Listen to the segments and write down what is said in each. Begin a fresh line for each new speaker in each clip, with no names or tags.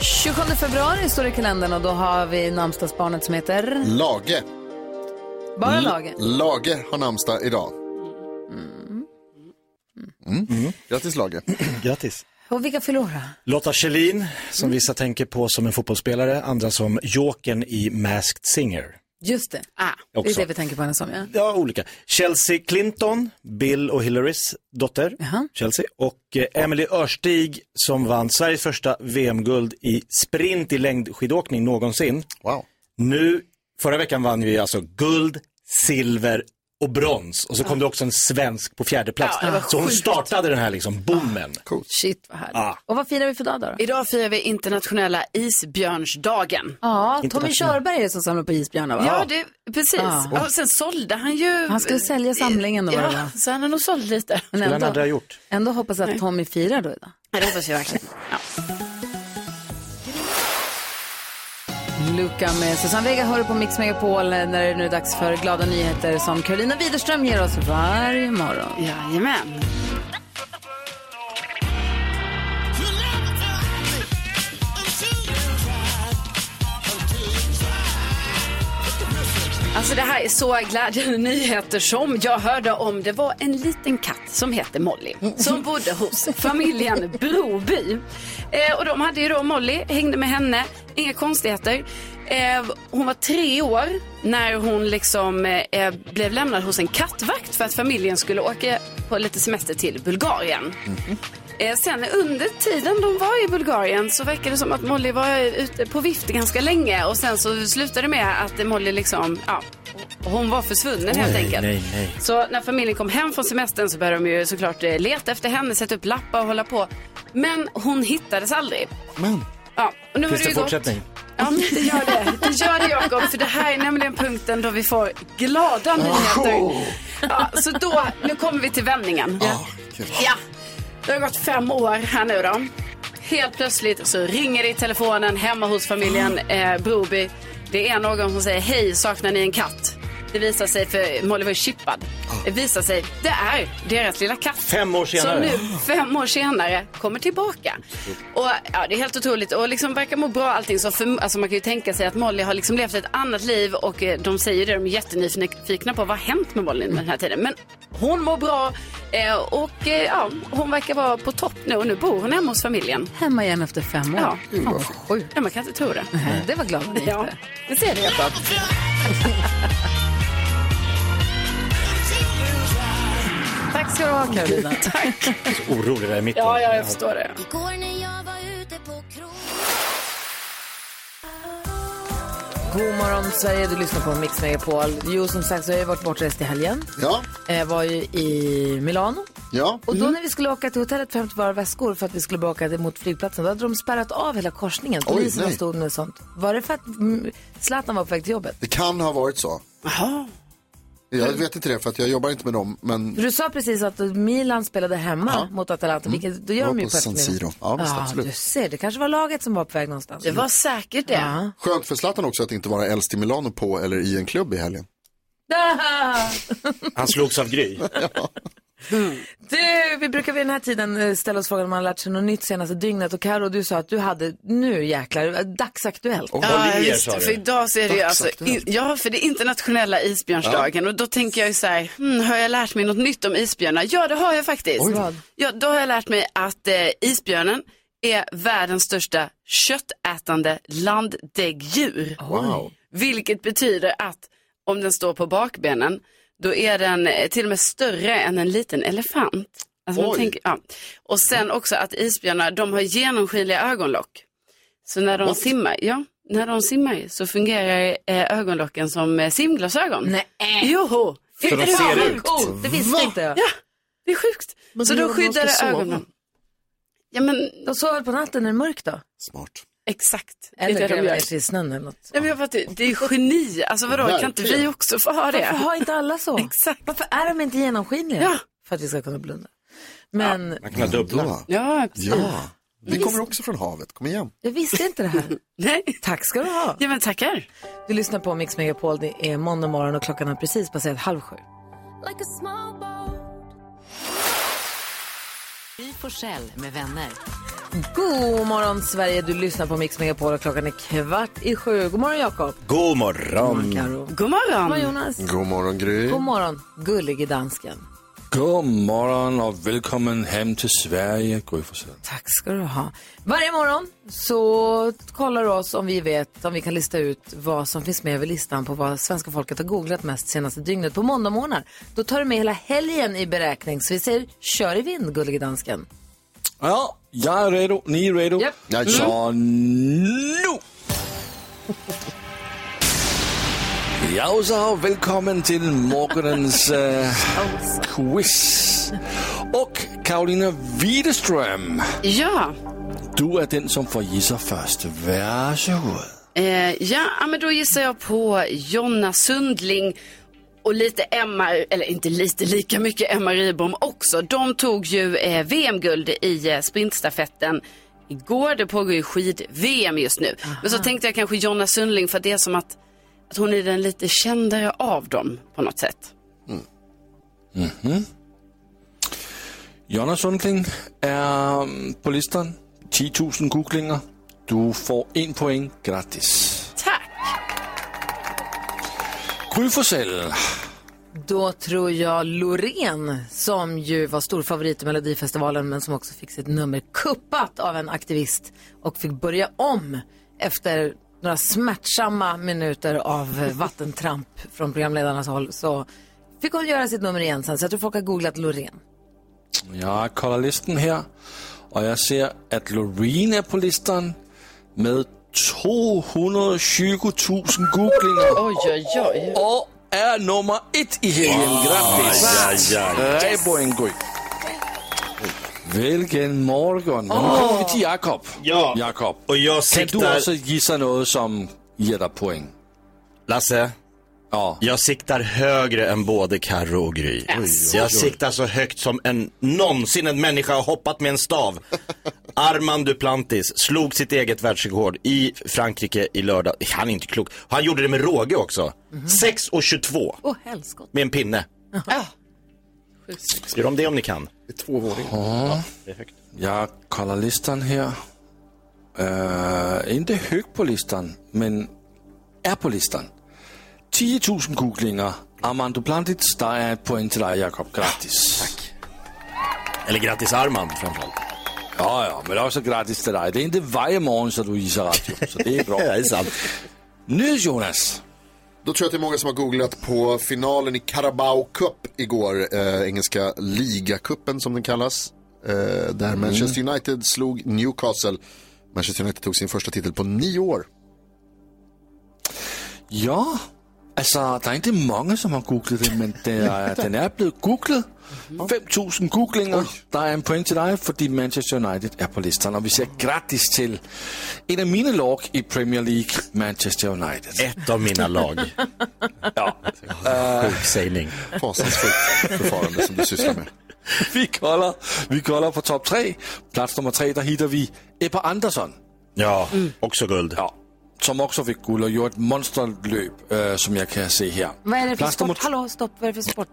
27 februari står det i kalendern och då har vi namnsdagsbarnet som heter...
Lage.
Bara Lage.
Lage har namnsdag idag. Mm. Grattis Lage.
Grattis.
Och vilka förlorar?
Lotta Schelin, som vissa tänker på som en fotbollsspelare, andra som Jokern i Masked Singer.
Just det. Ah, det är
Också.
det vi tänker på henne som. Ja.
Ja, olika. Chelsea Clinton, Bill och Hillarys dotter, Chelsea, och eh, Emily Örstig som vann Sveriges första VM-guld i sprint i längdskidåkning någonsin.
Wow.
Nu, förra veckan vann vi alltså guld, silver och brons och så kom det också en svensk på fjärde plats. så hon startade den här liksom boomen.
Shit vad härligt.
Ah.
Och vad firar vi för dag då? då?
Idag firar vi internationella isbjörnsdagen.
Ja, Tommy
Internationell.
Körberg är det som samlar på isbjörnar va?
Ja, det, precis.
Ja.
Ja, sen sålde han ju...
Han skulle sälja samlingen då, var det, va?
Ja, så han har nog sålt lite.
Men
Skulle han aldrig ha
ändå,
gjort.
ändå hoppas jag att Tommy firar då idag.
Ja, det hoppas jag verkligen. Ja.
Luca med Susanne Vega hör du på Mix Megapol när det nu är dags för glada nyheter som Karolina Widerström ger oss varje morgon.
Jajamän. Alltså det här är så glädjande nyheter som jag hörde om. Det var en liten katt som hette Molly som bodde hos familjen Broby. Eh, och de hade ju då Molly, hängde med henne, inga konstigheter. Eh, hon var tre år när hon liksom eh, blev lämnad hos en kattvakt för att familjen skulle åka på lite semester till Bulgarien. Eh, sen under tiden de var i Bulgarien så verkade det som att Molly var ute på vift ganska länge och sen så slutade det med att Molly liksom, ja, hon var försvunnen helt enkelt.
nej, nej.
Så när familjen kom hem från semestern så började de ju såklart eh, leta efter henne, sätta upp lappar och hålla på. Men hon hittades aldrig.
Men.
Ja, och nu
Finns
har
det
ju gått-
fortsättning?
Ja, men det gör det. Det gör det Jakob, för det här är nämligen punkten då vi får glada nyheter. Ja, så då, nu kommer vi till vändningen.
Ja. kul.
Ja, det har gått fem år här nu då. Helt plötsligt så ringer det i telefonen hemma hos familjen
Ah.
eh, Broby. Det är någon som säger hej, saknar ni en katt? Det visar sig, för Molly var ju chippad. Det visar sig, det är deras lilla katt.
Ah. Fem år senare.
Som nu, fem år senare, kommer tillbaka. Och ja, det är helt otroligt. Och liksom verkar må bra allting. Så för, alltså man kan ju tänka sig att Molly har liksom levt ett annat liv och eh, de säger det, de är jättenyfikna på vad har hänt med Molly under den här tiden. Men hon mår bra eh, och eh, ja, hon verkar vara på topp nu och nu bor hon hemma hos familjen.
Hemma igen efter fem år.
Ja.
Fan, vad sjukt.
Ja, man kan inte tro det.
Det var glada nyheter.
Ja, det ser du Jakob.
Tack ska du ha Karolina.
Så orolig där i mitten.
Ja, ja, jag förstår det.
Igår när jag var ute på krog
God morgon Sverige, du lyssnar på Mix Megapol. Jo, som sagt så har jag varit bortrest i helgen.
Ja.
Jag var ju i Milano.
Ja. Mm.
Och då när vi skulle åka till hotellet för att hämta våra väskor för att vi skulle bara åka till- mot flygplatsen, då hade de spärrat av hela korsningen.
Oj,
Poliserna
nej.
stod med sånt. Var det för att mm, Zlatan var på väg till jobbet?
Det kan ha varit så. Jag vet inte det för att jag jobbar inte med dem. Men
Du sa precis att Milan spelade hemma mot Atalanta, vilket då gör
Jag
de ju
var
på
på San
eftermiddagen.
Siro. Ja, visst, absolut.
du ser, det kanske var laget som var på väg någonstans.
Det var säkert det.
Ja.
skönt för Zlatan också att inte vara äldst i Milano på eller i en klubb i helgen.
Ah!
Han slogs av Gry.
Du, vi brukar vid den här tiden eh, ställa oss frågan om man har lärt sig något nytt senaste dygnet. Och Karo, du sa att du hade, nu jäklar, eh, dagsaktuellt.
Håll i er,
visst.
sa du.
För idag så är det ju alltså,
Dagsaktuellt.
in, ja, för det är internationella isbjörnsdagen och då tänker jag ju så här, hmm, har jag lärt mig något nytt om isbjörnar? Ja, det har jag faktiskt.
Oj.
Vad?
Ja, då har jag lärt mig att eh, isbjörnen är världens största köttätande landdäggdjur.
Wow.
Vilket betyder att om den står på bakbenen, då är den eh, till och med större än en liten elefant. Alltså man
Oj.
tänker, ja. Och sen också att isbjörnar, de har genomskinliga ögonlock. Så när de
What?
simmar, ja, när de simmar så fungerar eh, ögonlocken som eh, simglasögon.
Nej.
Joho!
För de
Är det
ser
sjukt?
ut.
Oh, det visste inte jag.
Ja, det är sjukt.
Men
så
det
då
gör de när de
skyddar
ska
det
sova.
ögonen. Ja, men
De sover på natten när det är mörkt då?
Smart.
Exakt. Det är
Eller
det
gräva
de gör.
ner sig i snön eller något.
Nej, men jag fattar, det är geni. Alltså vadå, kan inte vi
Verkligen.
också få ha det?
Varför har inte alla så? Exakt. Varför är de inte genomskinliga?
Ja.
För att vi ska kunna blunda. Men
Man kan ha dubbla.
Dubbla.
Ja, absolut.
Ja, vi kommer också från havet. Kom igen.
jag visste inte det här.
Nej.
Tack ska du ha.
Ja, men tackar.
Du lyssnar på Mix Megapol. Det är måndag morgon och klockan har precis passerat halv sju.
Like a small boat.
Gry Forssell med vänner.
God morgon Sverige. Du lyssnar på Mix Megapol och klockan är kvart i sju. God morgon Jakob.
God morgon.
Karo. God
God morgon.
morgon Jonas.
God morgon
Mm.
Gry.
God morgon gullige dansken.
God morgon och välkommen hem till Sverige, Gry Forssell.
Tack ska du ha. Varje morgon så kollar du oss om vi vet, om vi kan lista ut vad som finns med över listan på vad svenska folket har googlat mest senaste dygnet på måndagmorgnar. Då tar du med hela helgen i beräkning. Så vi säger kör i vind, gullige dansken.
Ja, jag är redo, ni är redo.
Japp.
Jajamän.
Så nu! Ja, så har välkommen till morgonens eh, quiz. Och Karolina Widerström,
Ja.
du är den som får gissa först. Varsågod.
Eh, ja, ja, men då gissar jag på Jonna Sundling och lite Emma, eller inte lite, lika mycket Emma Ribom också. De tog ju eh, VM-guld i eh, sprintstafetten igår. Det pågår ju skid-VM just nu. Men så tänkte jag kanske Jonna Sundling för det är som att, att hon är den lite kändare av dem på något sätt.
Mm. Mm-hmm. Jonna Sundling är på listan. 10 000 googlingar. Du får en poäng gratis.
Tack!
Gry Forssell.
Då tror jag Loreen, som ju var stor favorit i Melodifestivalen men som också fick sitt nummer kuppat av en aktivist och fick börja om efter några smärtsamma minuter av eh, vattentramp från programledarnas håll så fick hon göra sitt nummer igen sen. Så jag tror folk har googlat Loreen.
Jag kollar listan här och jag ser att Loreen är på listan med 220 000 googlingar
Oj, oj, oj.
och är nummer ett i helgen. Grattis!
Ja, ja.
Tre poäng Gry. Vilken morgon! Nu kommer vi till Jakob.
Ja.
Jakob,
Och jag
kan
siktar...
du också gissa något som ger dig poäng?
Lasse,
Ja.
jag siktar högre än både Karro och Gry. Jag siktar så högt som en, någonsin en människa har hoppat med en stav. Armand Duplantis slog sitt eget världsrekord i Frankrike i lördag. Han är inte klok. Han gjorde det med råge också. 6.22
Åh, helskott.
med en pinne. Skriv om det om ni kan.
Det är två våningar.
Jag kollar listan här. Eh, inte högt på listan, men är på listan. 10 000 googlingar. Armand Duplantis, där är ett poäng till dig, Jakob. Grattis.
Eller grattis Armand framförallt.
Ja, ja, men också grattis till dig. Det är inte varje morgon som du gissar radio, så det är bra.
Det är sant.
Nu, Jonas.
Då tror jag att det är många som har googlat på finalen i Carabao Cup igår. Eh, engelska ligacupen som den kallas. Eh, där Manchester United slog Newcastle. Manchester United tog sin första titel på nio år.
Ja, alltså, det är inte många som har googlat det, men det är, den är blivit googlad. 5000 googlingar. Der är en poäng till dig, fordi Manchester United är på listan. Och vi säger grattis till en av mina lag i Premier League, Manchester United.
Ett av mina lag. Sjuk sägning.
Øh.
Fasansfullt förfarande som du sysslar med.
Vi kollar, vi kollar på topp tre. Plats nummer tre, där hittar vi Ebba Andersson. Mm.
Ja, också guld.
Ja, som också fick guld och gjorde ett monsterlöp, eh, som jag kan se här.
Vad är det för
Plats nummer
sport? Hallå, stopp. Vad är det för sport?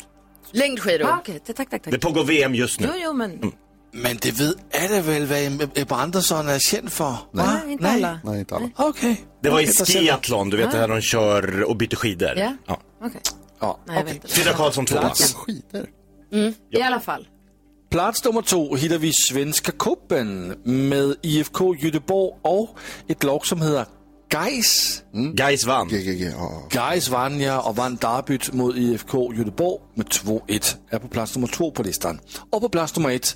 Längdskidor.
Ah, Okej, tack, tack,
Det
tack.
pågår VM just nu.
Jo, jo, men
Men det vet alla väl vad Ebba Andersson är känd för? Nej,
nej, inte alla.
Nej, inte alla.
Okej.
Det var i
Peter Sellman.
skiathlon, du vet det här de kör och byter skidor.
Ja.
Ja.
Okej.
Ja.
Nej, jag vet inte.
Frida Karlsson tvåa.
Skidor.
Mm, I alla fall.
Plats nummer två hittar vi Svenska Cupen med IFK Göteborg och ett lag som Mm. heter Geis.
Gais vann.
GGG, ja.
Geis vann ja och vann derbyt mot IFK Göteborg med 2-1. Är på plats nummer två på listan. Och på plats nummer ett,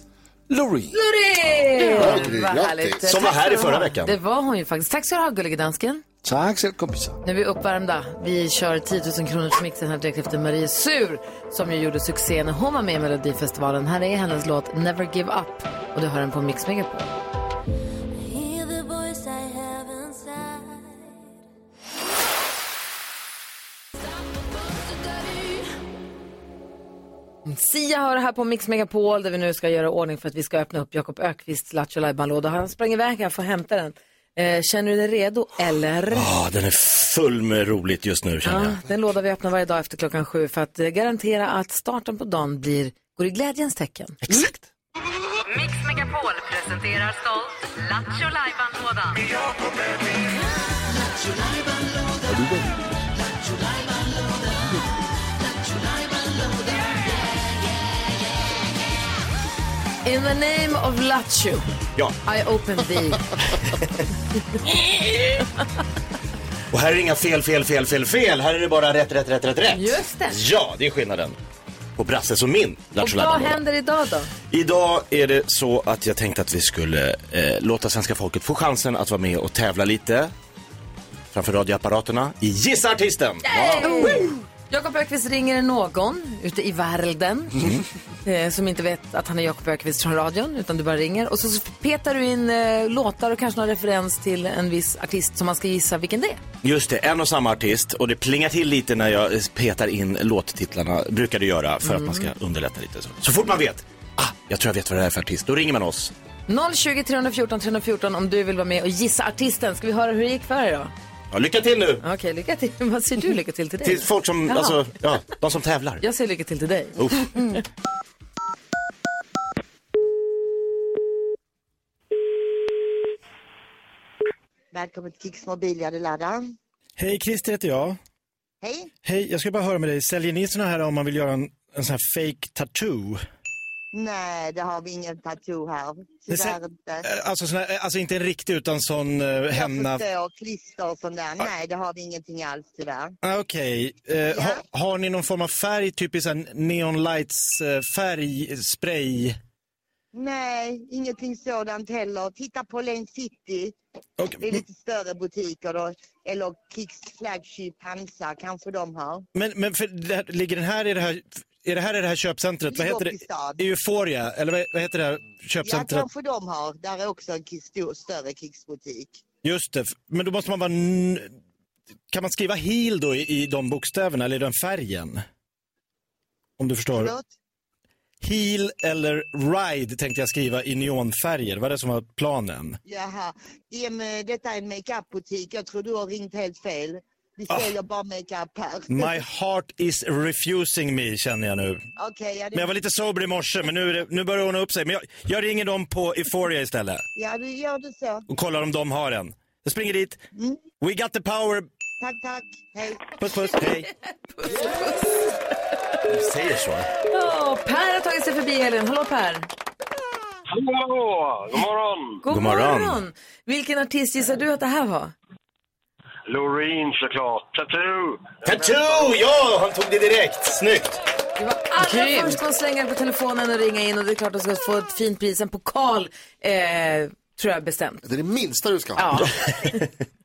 Loreen.
Gry,
Vad härligt.
grattis.
Som var
Tack
här i
ska du
förra
ha.
veckan.
Det var hon ju faktiskt. Tack ska du ha, gullige dansken.
Tack själv kompisar.
Nu är vi uppvärmda. Vi kör 10 000 kronors mixen här direkt efter Marie Sur som ju gjorde succé när hon var med i Melodifestivalen. Här är hennes låt Never Give Up och du hör den på Mix Megapol.
Hear the voice I haven't
Sia hör här på Mix Megapol där vi nu ska göra ordning för att vi ska öppna upp Jakob Ökvists Lattjo Lajban-låda. Han sprang iväg här för att hämta den. Eh, känner du dig redo eller?
Ja, Ah, den är full med roligt just nu känner jag.
Ja, den låda vi öppnar varje dag efter klockan sju för att eh, garantera att starten på dagen blir, går i glädjens tecken. Exakt.
Mix Megapol presenterar stolt Lattjo Lajban-lådan.
Mm. In the name of Lattjo,
Ja,
I open thee.
och här är inga fel, fel, fel, fel, fel. Här är det bara rätt, rätt, rätt, rätt, rätt.
Just det.
Ja, det är skillnaden. På Brasses och min
Och
Lattjo
vad
Lajban-låda.
händer idag då?
Idag är det så att jag tänkte att vi skulle eh, låta svenska folket få chansen att vara med och tävla lite framför radioapparaterna i Gissa Artisten.
Hey! Oh. Jakob Ökvist ringer någon ute i världen
Mm.
eh, som inte vet att han är Jakob Ökvist från radion utan du bara ringer och så petar du in eh, låtar och kanske någon referens till en viss artist som man ska gissa vilken det är.
Just det, en och samma artist och det plingar till lite när jag eh, petar in låttitlarna, brukar det göra för att
Mm.
man ska underlätta lite. Så, så fort man vet, ah, jag tror jag vet vad det här är för artist, då ringer man oss.
020 314 314 om du vill vara med och gissa artisten. Ska vi höra hur det gick för er då?
Ja, lycka till nu!
Okej, lycka till. Vad säger du lycka till till dig?
Till folk som,
Jaha.
alltså, ja, de som tävlar.
Jag säger lycka till till dig. Mm.
Uff.
Välkommen till Kicks mobil, ja det laddar.
Hej, Christer heter jag.
Hej.
Hej, jag ska bara höra med dig. Säljer ni såna här om man vill göra en, en sån här fake tattoo?
Nej, det har vi ingen tattoo här.
Det
Tyvärr
ser-
inte.
Eh, Alltså, sån här, eh, alltså inte en riktig utan sån eh, henna...
Jag förstår, klister och sånt där. Nej, det har vi ingenting alls tyvärr.
Ah, Okej. Eh, ha, har ni någon form av färg, typ i sån här neon lights eh, färgspray?
Nej, ingenting sådant heller. Titta på Lane City.
Det
är lite större butiker då. Eller Kicks flagship Hansa, kanske de har.
Men, men för, det här, ligger den här i det här... Är det här i det här köpcentret? Vad heter
Ligger på
det? Euphoria? Eller vad, vad heter det här köpcentret?
Ja, kanske de har. Där är också en Kicks- stor, större Kicks-butik.
Just det. Men då måste man vara... n- Kan man skriva heel då i, i de bokstäverna eller i den färgen? Om du förstår.
Förlåt?
Heel eller ride tänkte jag skriva i neonfärger. Det var det som var planen.
Jaha, det är med, detta är en makeupbutik. Jag tror du har ringt helt fel. Vi säljer bara makeup här.
Ah. My heart is refusing me känner jag nu.
Okej, ja, det...
Men jag var lite sober i morse men nu, är det, nu börjar det ordna upp sig. Men jag, jag ringer dem på Euphoria istället
Ja, du gör det så.
och kollar om de har en. Jag springer dit. We got the power.
Tack, tack. Hej.
Puss puss, hej.
Säger så.
Åh, per har tagit sig förbi helgen. Hallå Per!
Hallå! God morgon!
God, morgon. Vilken artist gissar du att det här var?
Loreen såklart. Tattoo!
Tattoo! Ja, han tog det direkt. Snyggt!
Allra först att slänga på telefonen och ringa in och det är klart att du ska få ett fint pris, en pokal, eh, tror jag bestämt.
Det är det minsta du ska
ha.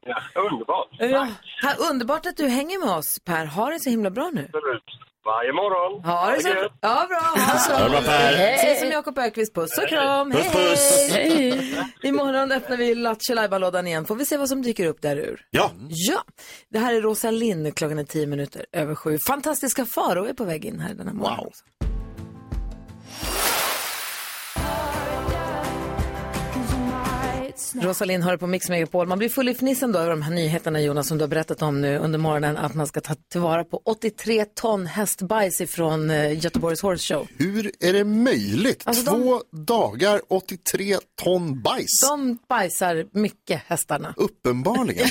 Ja.
Underbart!
Ja. Här, underbart att du hänger med oss Per, ha det så himla bra nu.
Absolut. Varje morgon.
Ha det så
gött.
Ja, bra. Ha så.
Ha det bra, Per.
Hej. Ses som Jakob Ökvist. Puss och kram.
Puss, puss.
Hej. Imorgon öppnar vi Lattjo lådan igen. Får vi se vad som dyker upp där ur.
Ja.
Ja. Det här är Rosa Lind. Klockan är tio minuter över sju. Fantastiska Faro är på väg in här den här morgonen. också. Rosalind har det på Mix Megapol. Man blir full i fnissen då över de här nyheterna Jonas som du har berättat om nu under morgonen att man ska ta tillvara på 83 ton hästbajs ifrån eh, Göteborgs Horse Show.
Hur är det möjligt?
Alltså, de-
Två dagar, 83 ton bajs.
De bajsar mycket hästarna.
Uppenbarligen.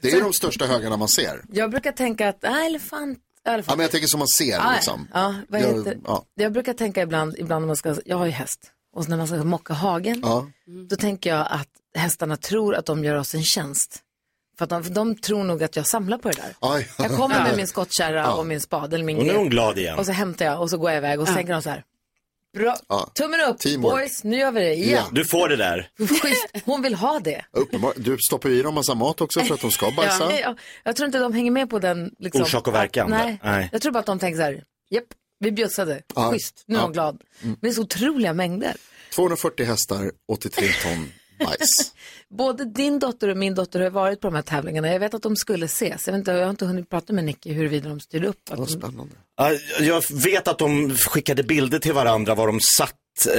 Det är de största högarna man ser.
Jag brukar tänka att äh, elefant, elefant.
Ja, men jag tänker som man ser
Ah,
liksom.
Ja, vad
Jag-
heter?
ja.
Jag brukar tänka ibland, ibland när man ska, jag har ju häst, och så när man ska mocka hagen,
Ja.
då tänker jag att hästarna tror att de gör oss en tjänst. För att de, för de tror nog att jag samlar på det där.
Aj.
Jag kommer
Ja.
med min skottkärra
Ja.
och min spade eller min
Och nu är hon
grej.
glad igen.
Och så hämtar jag och så går jag iväg och så tänker de så här. Bra,
Ja.
tummen upp,
Teamwork.
boys, nu gör vi det igen.
Du får det där.
Schysst, hon vill ha det.
Uppenbar- Du stoppar ju i dem massa mat också för att de ska bajsa.
Ja, ja. jag tror inte de hänger med på den. Liksom.
Orsak och verkan,
Nej.
nej.
jag tror bara att de tänker så här, japp, vi bjussade,
Ja. Mm.
schysst, nu är
Ja.
hon glad. Men det är så otroliga mängder.
240 hästar, 83 ton
Både din dotter och min dotter har varit på de här tävlingarna. Jag vet att de skulle ses. Jag, vet inte, jag har inte hunnit prata med Nicky huruvida de styrde upp. Att de...
Ja, Jag vet att de skickade bilder till varandra var de satt. eh,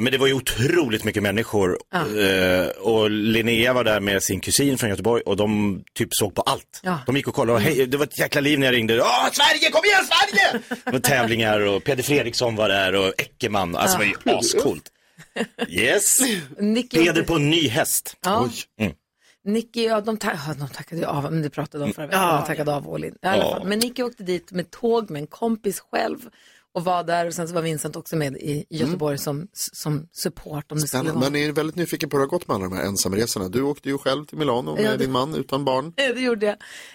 Men det var ju otroligt mycket människor. Eh, Och Linnea var där med sin kusin från Göteborg och de typ såg på allt.
Ja.
De gick och kollade och hej, det var ett jäkla liv när jag ringde. "Ah, Sverige, kom igen Sverige! Det var tävlingar och Peder Fredriksson var där och Eckermann. Alltså det var ju
Ja.
ascoolt. Yes.
Nicky,
Peder på en ny häst.
Ja.
Mm.
Nicky ja, de, ta... ja, de tackade ju av, men det pratade om förra veckan.
Ja.
De tackade av all in. I alla
Ja.
fall. Men Nicky åkte dit med tåg med en kompis själv och var där. Och sen så var Vincent också med i i Göteborg som, som support om det skulle
Spännande.
vara.
Men jag är väldigt nyfiken på hur det har gått med alla de här ensamresorna. Du åkte ju själv till Milano med
Ja, det-
din man utan barn.
Ja, det gjorde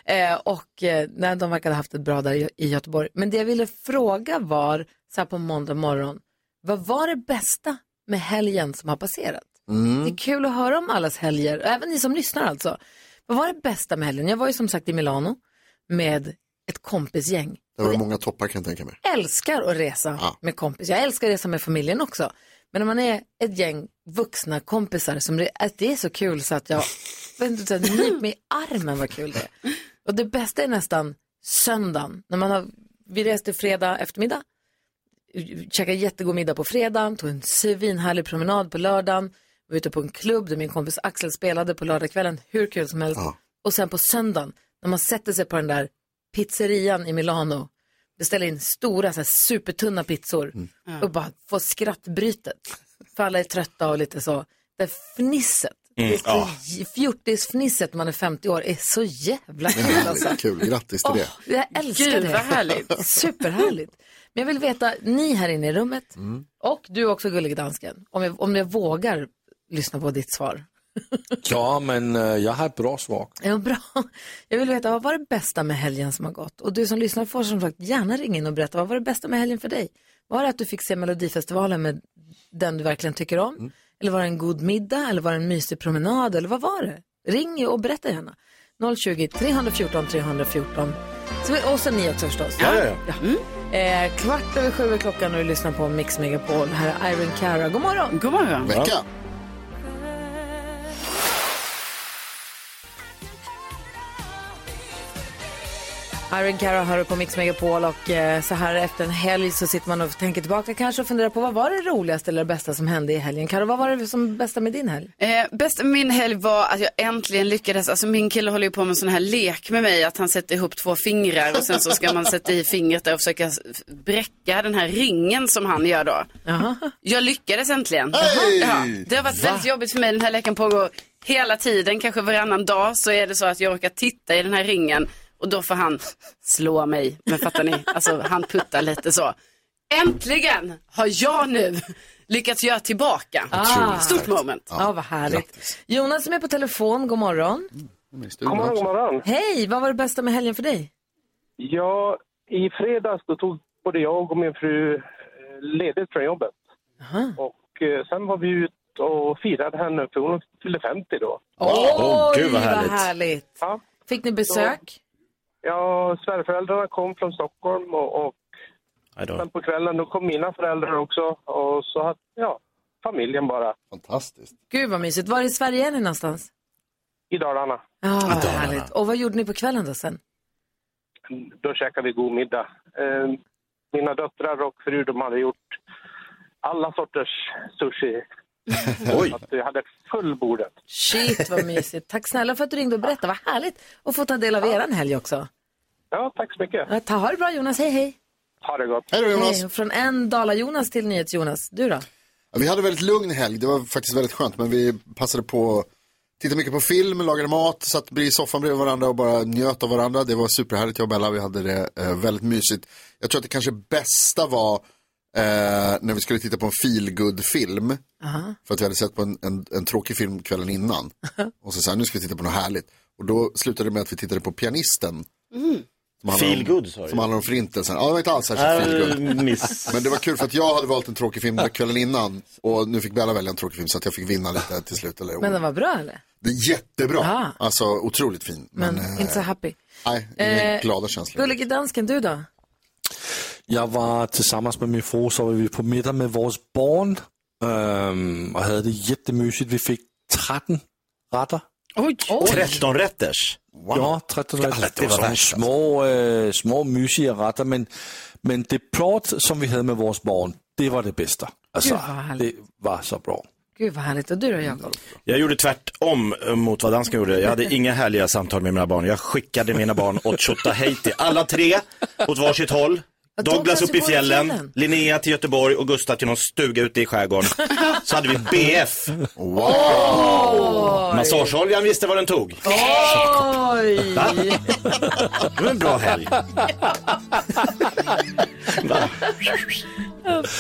jag. Eh, och eh, nej, de verkade ha haft ett bra där i- i Göteborg. Men det jag ville fråga var, så här på måndag morgon, vad var det bästa med helgen som har passerat? Det är kul att höra om allas helger, även ni som lyssnar alltså. Vad var det bästa med helgen? Jag var ju som sagt i Milano med ett kompisgäng.
Det var många toppar kan jag tänka mig.
Älskar att resa med kompisar. Jag älskar att resa med familjen också. Men när man är ett gäng vuxna kompisar, som det, att det är så kul så att jag vet inte, så här, nyp mig i armen vad kul det är. Och det bästa är nästan söndagen. När man har, vi reste fredag eftermiddag, käkade jättegod middag på fredagen, tog en svinhärlig promenad på lördagen, var ute på en klubb där min kompis Axel spelade på lördagskvällen, hur kul som helst. Och sen på söndagen, när man sätter sig på den där pizzerian i Milano, beställer in stora, så här, supertunna pizzor
Mm.
och bara får skrattbrytet. För alla är trötta och lite så. Det här fnisset,
Mm,
det är så
ja.
j- fjortisfnisset när man är 50 år är så jävla kul alltså.
Kul, grattis till
Åh,
det.
Jag älskar
Gud,
det.
vad härligt.
Superhärligt. Men jag vill veta, ni här inne i rummet
Mm.
och du också gullig dansken, om jag, om jag vågar lyssna på ditt svar.
Ja, men eh, jag har ett bra svar.
Ja, bra. Jag vill veta, vad var det bästa med helgen som har gått? Och du som lyssnar får som sagt gärna ringa in och berätta, vad var det bästa med helgen för dig? Var det att du fick se Melodifestivalen med den du verkligen tycker om? Eller var det en god middag? Eller var det en mysig promenad? Eller vad var det? Ring och berätta gärna. 020 314 314. Så, vi- och sen ni också förstås.
Ja, ja, ja.
Mm.
Eh, kvart över sju är klockan och du lyssnar på Mix Megapol. Här är Irene Cara. God morgon!
God morgon!
Vecka.
Iron Cara hör på Mix Megapol och eh, så här efter en helg så sitter man och tänker tillbaka kanske och funderar på vad var det roligaste eller det bästa som hände i helgen? Karo, vad var det som bästa med din helg?
Eh, bästa med min helg var att jag äntligen lyckades, alltså min kille håller ju på med en sån här lek med mig, att han sätter ihop två fingrar och sen så ska man sätta i fingret där och försöka s- bräcka den här ringen som han gör då. Jag lyckades äntligen.
Hey!
Ja, det har varit
Va?
väldigt jobbigt för mig, den här leken pågår hela tiden, kanske varannan dag så är det så att jag råkar titta i den här ringen och då får han slå mig. Men fattar ni, alltså han puttar lite så. Äntligen har jag nu lyckats göra tillbaka.
Ah. Otroligt
Ah. Stort
starkt.
moment.
Ja, vad härligt. Mm, Jonas som är på telefon, god morgon.
God morgon, god morgon.
Hej, vad var det bästa med helgen för dig?
Ja, i fredags då tog både jag och min fru eh, ledigt från jobbet. Och eh, sen var vi ut och firade henne för hon fyllde 50 då.
Oj, härligt. Fick ni besök?
Ja, svärföräldrarna kom från Stockholm och, och sen på kvällen då kom mina föräldrar också och så hade, ja, familjen bara.
Fantastiskt.
Gud vad mysigt. Var i Sverige är ni någonstans?
I Dalarna.
Ja, vad härligt. Och vad gjorde ni på kvällen då sen?
då käkade vi god middag. Eh, mina döttrar och fru de hade gjort alla sorters sushi. Oj. Att vi hade fullbordat.
Shit vad mysigt. Tack snälla för att du ringde och berättade, vad härligt att få ta del av eran helg också.
Ja, tack så mycket.
Ja, ta, ha det bra Jonas, hej hej.
Ha det gott.
Hej, och från en Dala-Jonas till Nyhets-Jonas. Du då?
Ja, Vi hade väldigt lugn helg, det var faktiskt väldigt skönt. Men vi passade på att titta mycket på film, lagade mat, satt i soffan bredvid varandra och bara njöt av varandra. Det var superhärligt, jag och Bella, vi hade det eh, väldigt mysigt. Jag tror att det kanske bästa var eh, när vi skulle titta på en feelgood-film. För att vi hade sett på en, en, en tråkig film kvällen innan. Och så sa jag, nu ska vi titta på något härligt. Och då slutade det med att vi tittade på Pianisten.
Mm.
Som handlar om-
Feel good, sa du.
Som handlar om förintelsen. Ja, det var inte alls särskilt
Äh,
feel good.
miss.
Men det var kul för att jag hade valt en tråkig film kvällen innan. Och nu fick Bella välja en tråkig film så att jag fick vinna lite till slut. Eller?
Men den var bra eller?
Det är jättebra. Alltså otroligt fin. Men, eh,
Inte så happy.
Nej, inga
Eh,
glada känslor.
Gullige dansken, du då?
Jag var tillsammans med min fru så var vi på middag med vores barn ehm, och hade det jättemysigt. Vi fick 13 retter.
Oj!
13 rätters?
Ja, 13
Ja,
retter.
det
Det,
var
var sådan
värst,
små, øh, små mysiga retter, men, men det plot, som vi hade med vores barn, det var det bästa. Alltså,
Gud, vad
det
härligt.
var så bra.
Gud vad härligt. Och du
Mm.
då Jakob?
Jag gjorde tvärtom eh, mot vad dansken gjorde. Jag hade inga härliga samtal med mina barn. Jag skickade mina barn åt Tjotahejti. Alla tre åt varsitt håll.
Ja,
Douglas
Douglas
upp i
bor i fjällen.
fjällen, Linnea till Göteborg och Gustav till någon stuga ute i skärgården. Så hade vi BF.
Wow!
Massageoljan visste vad den tog.
Oj!
Va? Det var en bra helg. Va?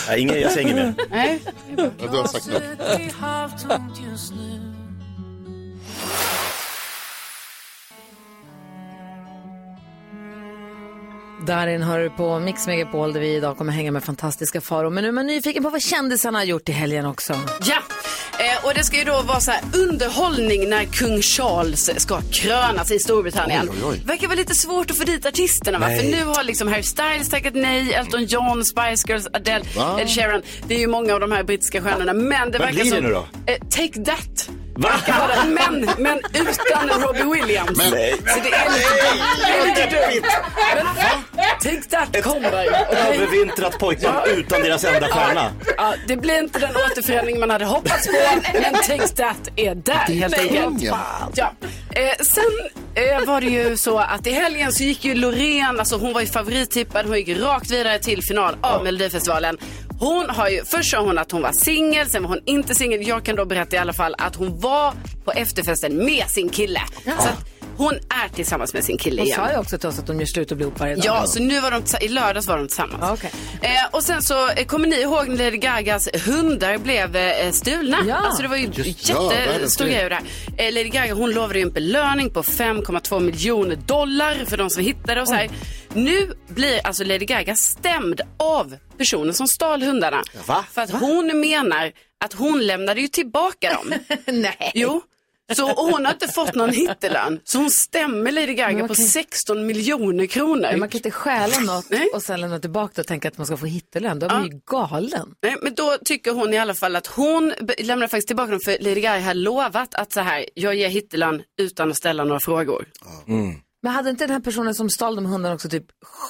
Nej, inget- jag säger inget mer.
Nej.
Ja, du har sagt nog.
Darin hör du på Mix Megapol där vi idag kommer hänga med fantastiska faror. Men nu är man nyfiken på vad kändisarna har gjort i helgen också.
Ja, eh, och det ska ju då vara så här underhållning när kung Charles ska krönas i Storbritannien.
Oj, oj, oj.
Verkar vara lite svårt att få dit artisterna va?
Nej.
För nu har liksom Harry Styles tackat nej, Elton John, Spice Girls, Adele,
Va?
Ed Sheeran. Det är ju många av de här brittiska stjärnorna. Men det
Vad
verkar
blir det
som...
nu då?
Eh, take that.
Va?
Verkar vara Men, men utan Robbie Williams.
Men-
Så det är
Nej,
lite dumt. Det är lite
jättedeppigt.
dumt. Men take that kommer ju.
Ett
Okej?
övervintrat pojkband utan deras enda stjärna.
Ja, det blir inte den återförening man hade hoppats på, men Takes That är där
Det är
helt enkelt.
kungen.
Ja. Eh, sen eh, var det ju så att i helgen så gick ju Loreen, alltså hon var ju favorittippad, hon gick rakt vidare till final av Melodifestivalen. Hon har ju, först sa hon att hon var singel, sen var hon inte singel. Jag kan då berätta i alla fall att hon var på efterfesten med sin kille. Så att hon är tillsammans med sin kille
Hon
igen.
sa ju också till oss att de gör slut och blir ihop varje dag. Ah,
Ja, så nu var de, tsa- i lördags var de tillsammans. Eh, och sen så eh, kommer ni ihåg när Lady Gagas hundar blev eh, stulna?
Ja.
Alltså det var ju
Just- Ja, världens
jättestor
grej.
grej det här. Eh, Lady Gaga hon lovade ju en belöning på 5,2 miljoner dollar för de som hittade och så här. Nu blir alltså Lady Gaga stämd av personen som stal hundarna. För att hon menar att hon lämnade ju tillbaka dem.
Nej.
Jo. Så och hon har inte fått någon hittelön. Så hon stämmer Lady Gaga
Men
på
okej.
16 miljoner kronor.
Men man kan inte stjäla något och sen lämna tillbaka och tänka att man ska få hittelön. Då är man ju galen.
Nej, men då tycker hon i alla fall att hon be- lämnar faktiskt tillbaka dem för Lady Gaga har lovat att så här, jag ger hittelön utan att ställa några frågor.
Mm.
Men hade inte den här personen som stal de hundarna också typ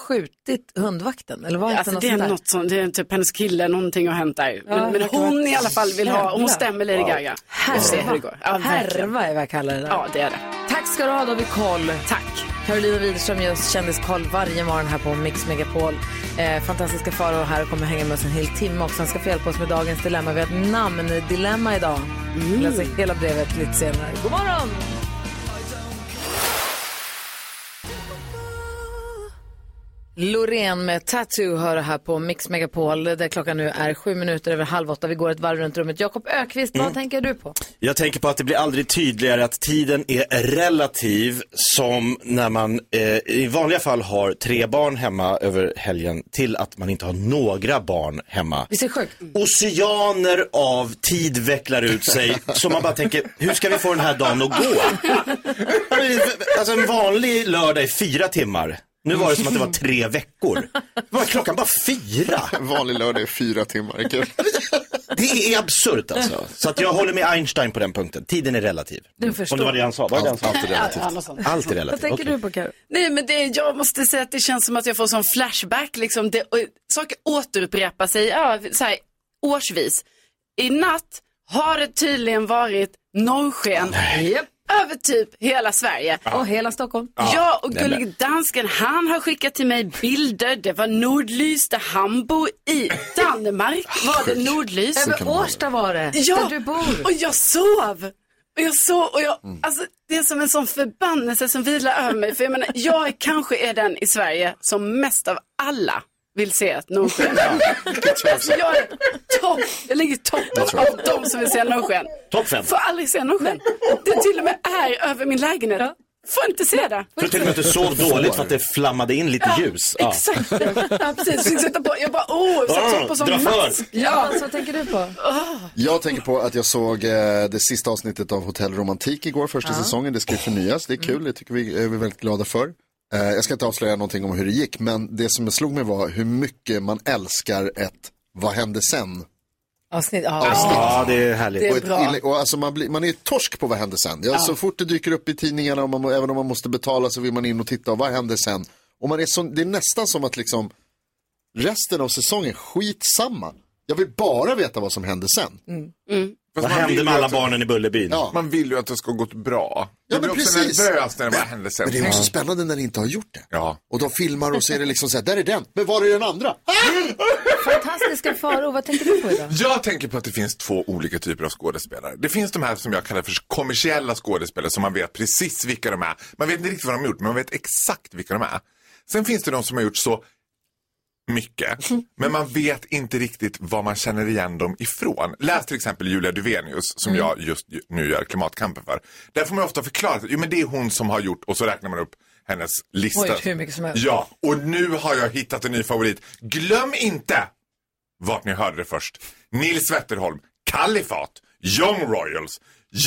skjutit hundvakten? Eller var
Alltså,
inte
det
något
är
sånt där?
något som, det är typ hennes kille, någonting har hänt där.
Ja,
men men
det verkar
hon
vara-
i alla fall vill ha, hon
Jävlar.
stämmer Lady
Wow.
Gaga. Vi får se hur det går.
Härva,
Ja, verkligen.
härva är vad jag kallar det där.
Ja, det är det.
Tack ska du ha David Koll.
Tack.
Carolina Widerström ger oss kändiskoll varje morgon här på Mix Megapol. Eh, fantastiska faror här och kommer hänga med oss en hel timme också. Han ska få hjälpa oss med dagens dilemma. Vi har ett namndilemma idag. Mm. Läser hela brevet lite senare. God morgon! Loreen med Tattoo hör här på Mix Megapol där klockan nu är sju minuter över halv åtta. Vi går ett varv runt rummet. Jakob Ökvist,
Mm.
vad tänker du på?
Jag tänker på att det blir aldrig tydligare att tiden är relativ som när man eh, i vanliga fall har tre barn hemma över helgen till att man inte har några barn hemma.
Visst är det sjukt?
Oceaner av tid vecklar ut sig så man bara tänker, hur ska vi få den här dagen att gå? Alltså en vanlig lördag är fyra timmar. Nu var det som att det var tre veckor. Var klockan bara fyra?
Vanlig lördag är fyra timmar. Kul.
Det är absurt alltså. Så att jag håller med Einstein på den punkten. Tiden är relativ.
Du förstår.
Om det var det han sa. Vad är det han sa?
Allt är relativt. Ja, något sånt.
Allt är relativt. okej.
på Karo?
Nej men det, jag måste säga att det känns som att jag får sån flashback liksom. Det, och, saker återupprepar sig ja, så här, årsvis. I natt har det tydligen varit norrsken över typ hela Sverige.
Och hela Stockholm.
Ja,
Ja,
och
den
gullig dansken han har skickat till mig bilder. Det var nordlys där han bor i Danmark. Var det nordlys?
Över Årsta var det,
Ja,
där du bor.
och jag sov. Och jag sov och jag,
Mm.
alltså det är som en sån förbannelse som vilar över mig. För jag menar, jag kanske är den i Sverige som mest av alla vill se ett norrsken. alltså jag är topp, jag ligger i toppen av de som vill se norrsken.
Topp fem.
Får aldrig se norrsken. Det till och med är över min lägenhet. Får inte se det.
För till och med att du sov dåligt för att det flammade in lite ljus. Ja.
Exakt. Ja, precis. Fick sätta på. Jag bara, åh, jag satt
Ah,
så på
dra
sån
för.
mask.
Ja, så vad tänker du på?
Jag tänker på att jag såg eh, det sista avsnittet av Hotell Romantik igår, första säsongen. Det ska ju förnyas, det är
Mm.
kul, det tycker vi är vi väldigt glada för. Eh, jag ska inte avslöja någonting om hur det gick, men det som slog mig var hur mycket man älskar ett vad hände sen
Avsnitt, ja.
avsnitt.
Ja, det är härligt.
Det är
och ett
bra.
inlägg- och alltså man, blir, man är torsk på vad händer sen. Ja,
Ja.
Så fort det dyker upp i tidningarna, och man, må- även om man måste betala, så vill man in och titta, och vad händer sen? Och man är så, det är nästan som att liksom, resten av säsongen, skitsamma. Jag vill bara veta vad som händer sen.
Fast
Vad
man
hände
vill
med
ju
alla
att-
barnen i Bullerbyn? Ja.
Mm. Man vill ju att det ska gå bra.
Ja,
Jag blir
men
också
precis.
nervös när det bara händer sen.
Men det är också
Ja.
spännande när ni inte har gjort det.
Ja.
Och de filmar och så är det liksom så här, där är den, men var är den andra?
Fantastiska faror, vad tänker du på idag?
Jag tänker på att det finns två olika typer av skådespelare. Det finns de här som jag kallar för kommersiella skådespelare som man vet precis vilka de är. Man vet inte riktigt vad de har gjort men man vet exakt vilka de är. Sen finns det de som har gjort så mycket men man vet inte riktigt vad man känner igen dem ifrån. Läs till exempel Julia Duvenius som
Mm.
jag just ju- nu gör klimatkampen för. Där får man ofta förklara att jo, men det är hon som har gjort och så räknar man upp hennes lista.
Hon har gjort hur mycket som helst.
Ja, och nu har jag hittat en ny favorit. Glöm inte vart ni hörde det först. Nils Wetterholm, Kalifat, Young Royals,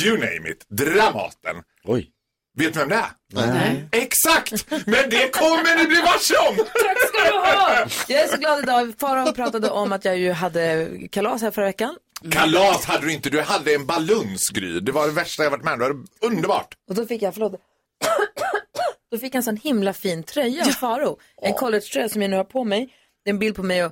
you name it, Dramaten. Oj. Vet ni vem det är? Nej. Exakt! Men det kommer ni bli varse om!
Tack ska du ha! Jag är så glad idag. Farao pratade om att jag ju hade kalas här förra veckan.
Kalas hade du inte, du hade en balunsgry. Det var det värsta jag varit med om. Det var underbart.
Och då fick jag, förlåt. då fick jag en sån himla fin tröja av Faro. En collegetröja som jag nu har på mig. Det är en bild på mig och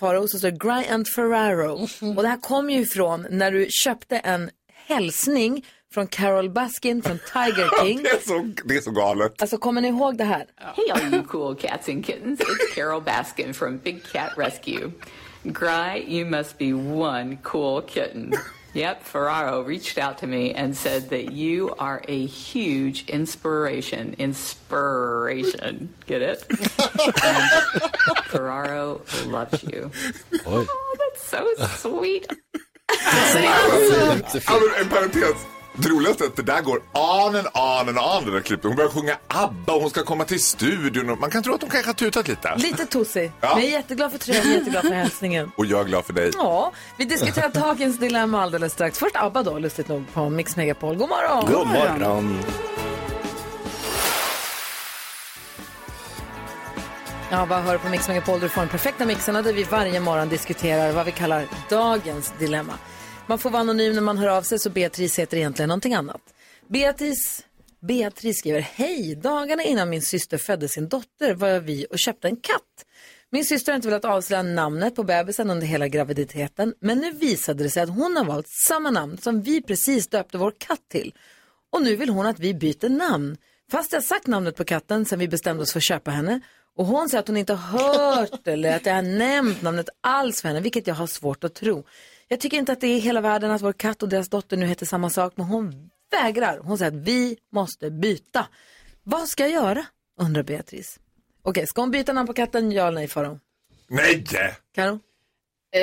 Faro och så står det Grant Ferraro.
Mhm.
Och det här kom ju ifrån när du köpte en hälsning från Carol Baskin från Tiger King.
Det är så, det är så galet.
Alltså kommer ni ihåg det här?
Hey, all you cool cats and kittens. It's Carol Baskin from Big Cat Rescue. Gry, you must be one cool kitten. Yep, Ferraro reached out to me and said that you are a huge inspiration. Inspiration. Get it? And Ferraro loves you. Oh, that's so sweet.
Ja, men en parentes. Det roligaste är att det där går on and on and on det där klippet. Hon börjar sjunga ABBA och hon ska komma till studion. och Man kan tro att hon kanske har tutat lite.
Lite tossig.
Ja.
Men jag är jätteglad för tröjan, jag är jätteglad för hälsningen.
Och jag är glad för dig.
Ja, vi diskuterar dagens dilemma alldeles strax. Först ABBA då, lustigt nog, på Mix Megapol. God morgon! Ja, vad hör du på Mix Megapol? Du får den perfekta mixen där vi varje morgon diskuterar vad vi kallar dagens dilemma. Man får vara anonym när man hör av sig, så Beatrice heter egentligen någonting annat. Beatrice, Beatrice skriver, hej, dagarna innan min syster födde sin dotter var vi och köpte en katt. Min syster har inte velat avslöja namnet på bebisen under hela graviditeten, men nu visade det sig att hon har valt samma namn som vi precis döpte vår katt till. Och nu vill hon att vi byter namn. Fast jag sagt namnet på katten sen vi bestämde oss för att köpa henne. Och hon säger att hon inte har hört eller att jag har nämnt namnet alls för henne, vilket jag har svårt att tro. Jag tycker inte att det är hela världen att vår katt och deras dotter nu heter samma sak, men hon vägrar. Hon säger att vi måste byta. Vad ska jag göra? undrar Beatrice. Okej, ska hon byta namn på katten? Ja eller nej, Farao?
Nej!
Karo?
Eh,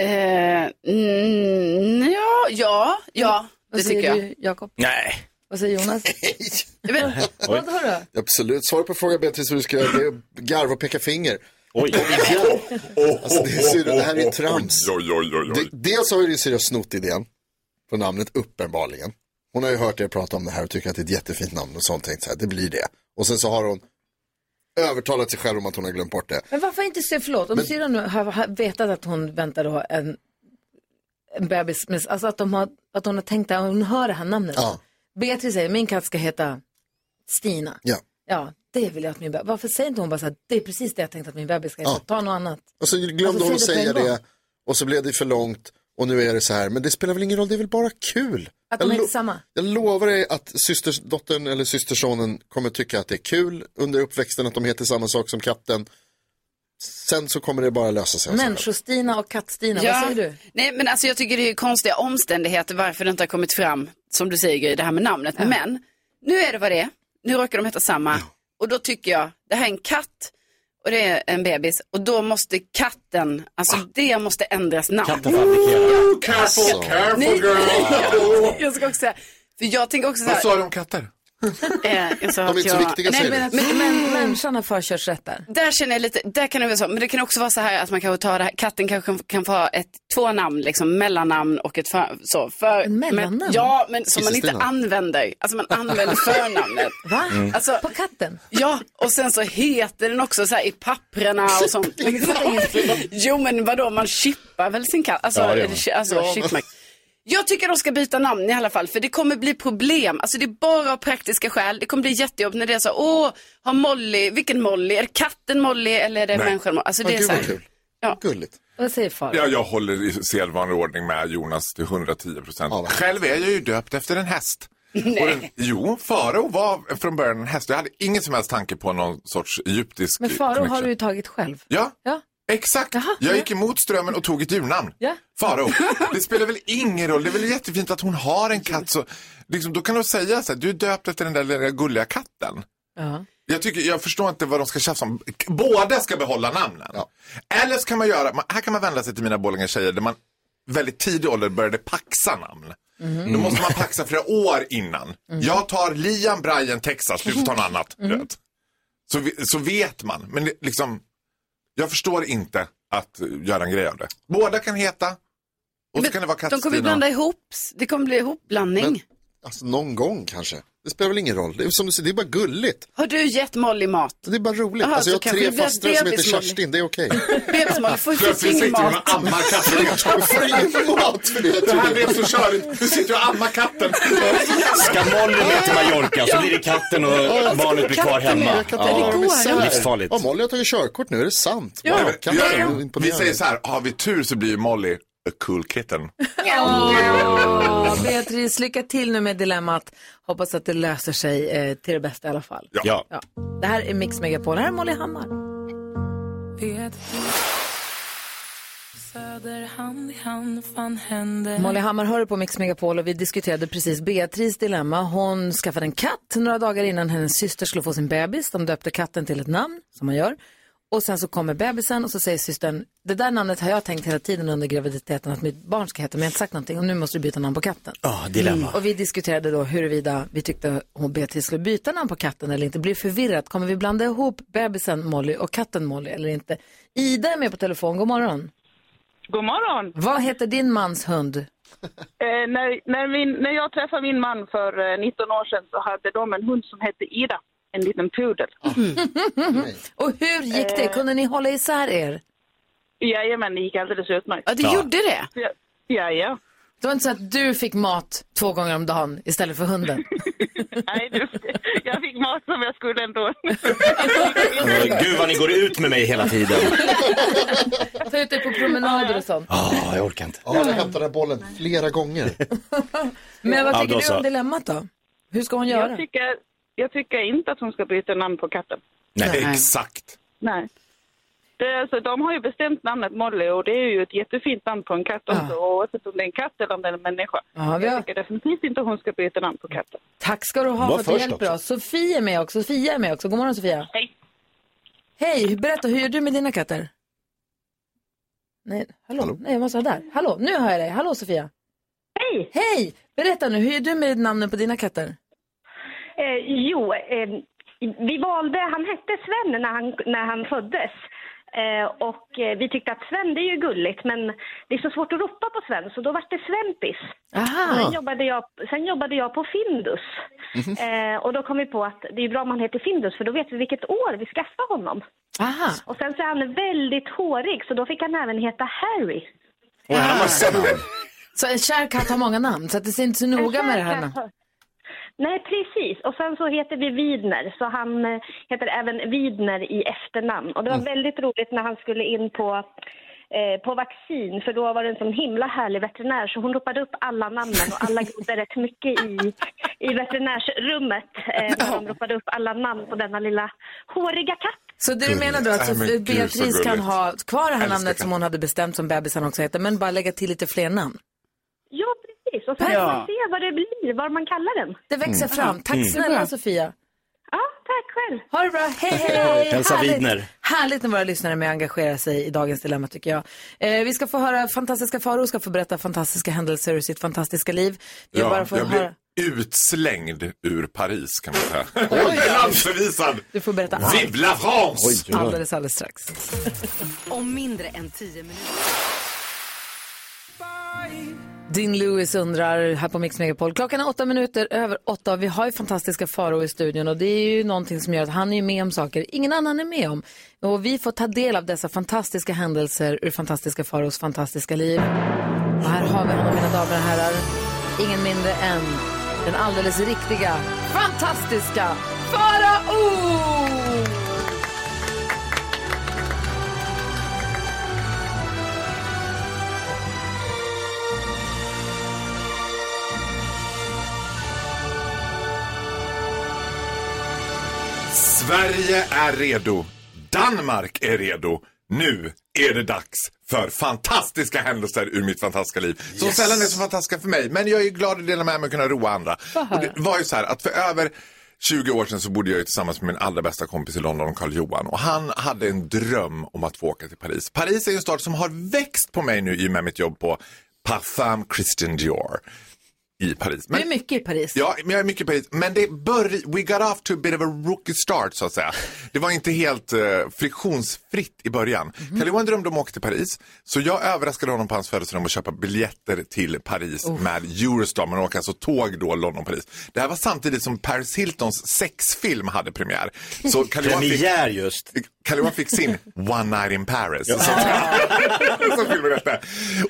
mm, ja, ja, ja, det
Mm. Vad säger
tycker jag.
du, Jakob?
Nej.
Vad säger Jonas?
Men,
vad har du?
Absolut, svar på frågan Beatrice hur du ska göra, det är garva och peka finger.
Oj.
alltså, det, är syra, det här är trams.
Oj, oj, oj,
D- dels har ju din syrra snott idén från namnet uppenbarligen. Hon har ju hört er prata om det här och tycker att det är ett jättefint namn och sånt tänkt så här, det blir det. Och sen så har hon övertalat sig själv om att hon har glömt bort det.
Men varför inte se, förlåt, om
Men-
syrran nu har, har vetat att hon väntar då en, en bebis, men alltså att, de har, att hon har tänkt att hon hör det här namnet.
Ja.
Beatrice säger, min katt ska heta Stina.
Ja.
Ja, det vill jag att min bebis, varför säger inte hon bara så här, det är precis det jag tänkte att min bebis ska heta,
Ja.
ta något annat.
Och så glömde
Alltså,
hon att
säg det
säga
på en
det och så blev det för långt och nu är det så här, men det spelar väl ingen roll, det är väl bara kul.
Att
Jag
de heter
lo-
samma.
Jag lovar dig att systerdottern eller systersonen kommer tycka att det är kul under uppväxten att de heter samma sak som katten. Sen så kommer det bara lösa sig. av sig själv.
Människostina och kattstina, vad säger du?
Nej, men alltså jag tycker det är ju konstiga omständigheter varför det inte har kommit fram, som du säger, Gry, det här med namnet. Men nu är det vad det är. Nu råkar de heta samma. Och då tycker jag, det här är en katt och det är en bebis. Och då måste katten, alltså det måste ändras namn.
Katten fabrikerar.
Ja.
Careful,
Alltså,
careful,
nej,
girl.
jag ska också säga, för jag tänker också så här.
Vad sa du om katter?
Eh, så
De är
att
inte så
jag-
viktiga,
Nej,
säger
men,
du.
men, men, men
Människan har förkörsrätt där.
där känner jag lite, där kan det vara så, men det kan också vara så här att man kanske tar det här, katten kanske kan få ha ett, två namn, liksom mellannamn och ett för, så. För,
mellannamn?
Men, ja, men som man inte
Kristina.
använder, alltså man använder förnamnet.
Va?
Mm. Alltså,
På katten?
Ja, och sen så heter den också så här i papprena och sånt. jo, men vadå, man chippar väl sin katt? Alltså,
Ja, det gör
eller,
man.
alltså
Ja.
chipmark- jag tycker de ska byta namn i alla fall, för det kommer bli problem. Alltså det är bara av praktiska skäl. Det kommer bli jättejobb när det är så, åh, har Molly, vilken Molly? Är det katten Molly eller är det
Nej.
människan Molly? Alltså
Ja,
det är
gud,
så här.
vad kul.
Ja.
Gulligt.
Vad säger far?
Ja, jag håller i sedvanlig ordning med Jonas till 110 procent. Själv är jag ju döpt efter en häst.
Nej.
Och den, jo, Farao var från början en häst. Jag hade ingen som helst tanke på någon sorts egyptisk
Men Faro har
connection.
du ju tagit själv.
Ja,
Ja.
exakt. jag gick emot strömmen och tog ett djurnamn.
Ja.
Farao. Det spelar väl ingen roll. Det är väl jättefint att hon har en katt. Så, liksom, då kan de säga så här, du är döpt efter den där lilla gulliga katten.
Ja.
Jag, tycker, jag förstår inte vad de ska tjafsa om. Båda ska behålla namnen. Eller så kan man göra, man- här kan man vända sig till mina Borlänge tjejer där man väldigt tidig ålder började paxa namn.
Mm.
Mhm.
Då måste man paxa flera år innan. Jag tar Liam, Brian, Texas, du får ta något annat.
Mm.
du vet. Så, vi- så vet man. Men det, liksom, jag förstår inte att eh, göra en grej av det. Båda kan heta. Och så kan det vara
De kommer ju blanda ihop, det kommer bli ihopblandning.
Men, alltså någon gång kanske. Det spelar väl ingen roll. Det är, som du säger, det är bara gulligt.
Har du gett Molly mat?
Det är bara roligt. alltså jag har tre fastrar som heter Kerstin, det är okej.
Bebis-Molly får ju
Plötsligt
ingen
sitter hon
mat.
och ammar katten. Hon får ingen mat för det.
Det här blev så körigt. Du sitter och ammar katten.
Ska Molly med till Mallorca så blir det katten och
Ja,
barnet blir kvar
katten är-
hemma.
katten är- de är så här.
Livsfarligt.
Ja, Molly har tagit körkort nu, är det sant?
Ja,
Wow,
men,
katten är
gör- vi
imponerande.
säger så här, har vi tur så blir ju Molly a cool kitten.
Åh, Beatrice, lycka till nu med dilemmat. Hoppas att det löser sig eh, till det bästa i alla fall.
Ja.
Ja. Det här är Mix Megapol. Här är Molly Hammar.
Söder hand i hand, fan händer
Molly Hammar hör på Mix Megapol och vi diskuterade precis Beatrice dilemma. Hon skaffade en katt några dagar innan hennes syster skulle få sin bebis. De döpte katten till ett namn, som man gör. Och sen så kommer bebisen och så säger systern, det där namnet har jag tänkt hela tiden under graviditeten att mitt barn ska heta, men jag har inte sagt någonting och nu måste du byta namn på katten.
Ja, dilemma.
Mm, Och vi diskuterade då huruvida vi tyckte hon Beatrice skulle byta namn på katten eller inte. Blir förvirrat, kommer vi blanda ihop bebisen Molly och katten Molly eller inte? Ida är med på telefon, god morgon.
God morgon!
Vad heter din mans hund?
Eh, när, när, min, när jag träffade min man för eh, 19 år sedan så hade de en hund som hette Ida, en liten pudel.
Mm.
Mm.
Och hur gick det?
Eh.
Kunde ni hålla isär er?
Jajamän, det gick alldeles utmärkt.
Ja, det Ja. gjorde det?
Ja, ja. ja.
Det var inte så att du fick mat två gånger om dagen istället för hunden?
Jag fick mat som jag skulle ändå.
Åh, Gud vad ni går ut med mig hela tiden.
Ta ut dig på promenader och sånt.
Ah, jag orkar inte.
Ja, jag hämtade bollen flera gånger.
Men vad
Ja,
tycker
då
du
så.
om dilemmat då? Hur ska hon göra?
Jag tycker, jag tycker inte att hon ska byta namn på katten.
Nej, exakt.
Nej. Det, alltså, de har ju bestämt namnet Molly och det är ju ett jättefint namn på en katt också, oavsett om det är en katt eller om det är en människa.
Ja, vi har-
Jag tycker definitivt inte hon ska byta namn på katten.
Tack ska du
Var
ha för att du
först
hjälper
också.
oss. Sofia är med också. Sofia är med också. God morgon Sofia.
Hej.
Hej, berätta, hur gör du med dina katter? Nej, hallå, nej jag måste vara där. Hallå, nu hör jag dig. Hallå Sofia.
Hej!
Hej! Berätta nu, hur gör du med namnen på dina katter?
Eh, jo, eh, vi valde, han hette Sven när han, när han föddes. Eh, och eh, vi tyckte att Sven, det är ju gulligt, men det är så svårt att ropa på Sven, så då var det Sventis.
Aha.
Sen, jobbade jag, sen jobbade jag på Findus.
Mhm.
Eh, och då kom vi på att det är bra om han heter Findus, för då vet vi vilket år vi skaffar honom.
Aha.
Och sen så är han väldigt hårig, så då fick han även heta Harry.
Och här har
Ah.
man sett-
Så en kär katt har många namn, så att det ser inte så noga med det här. namnet.
Nej, precis. Och sen så heter vi Widner, så han eh, heter även Widner i efternamn. Och det
Mm.
var väldigt roligt när han skulle in på, eh, på vaccin, för då var det en sån himla härlig veterinär, så hon ropade upp alla namnen och alla gjorde rätt mycket i, i veterinärsrummet. Eh, när de ropade upp alla namn på denna lilla håriga katt.
Så det du
Gulligt.
menar då att
Nej, men
Sofie-
gud, så
Beatrice kan
gulligt.
ha kvar det här
Älskar
namnet som hon hade bestämt som bebisen också heter, men bara lägga till lite fler namn?
Ja, precis. Och sen
Ja.
får man se vad det blir, vad man kallar den.
Det växer fram. Tack snälla Sofia.
Ja, tack själv.
Ha det bra. Hej, hej!
Hälsa
Härligt.
Widner.
Härligt när våra lyssnare är med och engagerar sig i dagens dilemma tycker jag. Eh, vi ska få höra fantastiska faror, ska få berätta fantastiska händelser ur sitt fantastiska liv. Vi
Ja,
bara får
jag
höra.
blir utslängd ur Paris kan man säga. Oj, Landsförvisad!
Du får berätta
Vive la France!
alldeles, alldeles strax.
Om mindre än 10 minuter.
Din Lewis undrar här på Mix Megapol. Klockan är åtta minuter över åtta och vi har ju fantastiska faror i studion och det är ju någonting som gör att han är ju med om saker ingen annan är med om. Och vi får ta del av dessa fantastiska händelser ur fantastiska faros fantastiska liv. Och här har vi honom mina damer och herrar. Ingen mindre än den alldeles riktiga, fantastiska Farao!
Sverige är redo. Danmark är redo. Nu är det dags för fantastiska händelser ur mitt fantastiska liv. Som
Yes.
sällan är så fantastiska för mig, men jag är glad att dela med mig och kunna roa andra.
Vad
Och det var ju så här att för över 20 år sedan så bodde jag ju tillsammans med min allra bästa kompis i London, Carl Johan. Och han hade en dröm om att få åka till Paris. Paris är ju en stad som har växt på mig nu i och med mitt jobb på Parfum Christian Dior i Paris. Men-
Du är mycket i Paris.
Ja, men jag är mycket i Paris. Men det började, we got off to a bit of a rookie start så att säga. Det var inte helt eh, friktionsfritt i början. mm Johan drömde om att åka till Paris. Så jag överraskade honom på hans födelsedag med att köpa biljetter till Paris
Oh.
med Eurostar. Man åker alltså tåg då London-Paris. Det här var samtidigt som Paris Hiltons sexfilm hade premiär. Så Carl Johan
Premiär
fick, just. Johan fick sin One Night in Paris. Så att säga. Så filmen hette.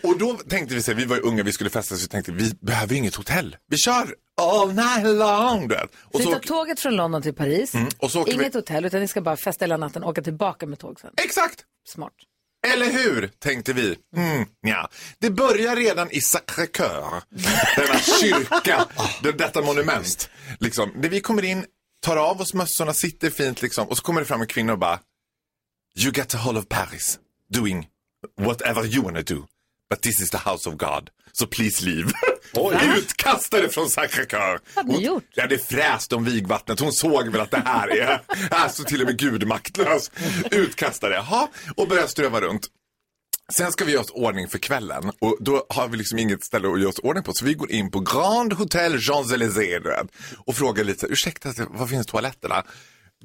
Och då tänkte vi så här, vi var ju unga, vi skulle festa, så vi tänkte vi behöver ju inget hotell. Vi kör all night long. du vet. Och
Så ni
så,
tar tåget från London till Paris.
Mm, och så åker vi-
Inget hotell, utan ni ska bara festa hela natten och åka tillbaka med tåg sen.
Exakt!
Smart.
eller hur, tänkte vi. Mm, ja. Det börjar redan i Sacré-Cœur, denna kyrka, det- detta monument. Liksom, där vi kommer in, tar av oss mössorna, sitter fint liksom, och så kommer det fram en kvinna och bara You get the whole of Paris doing whatever you wanna do. But this is the house of God, so please leave. Utkastade från Sacré-Cœur.
Vad hade ni gjort?
Ja, det fräste om vigvattnet. Hon såg väl att det här är alltså till och med gudmaktlös. Utkastade. Jaha, och började ströva runt. Sen ska vi göra oss ordning för kvällen och då har vi liksom inget ställe att göra oss ordning på så vi går in på Grand Hotel Champs-Élysées du vet, och frågar lite så här, ursäkta, var finns toaletterna?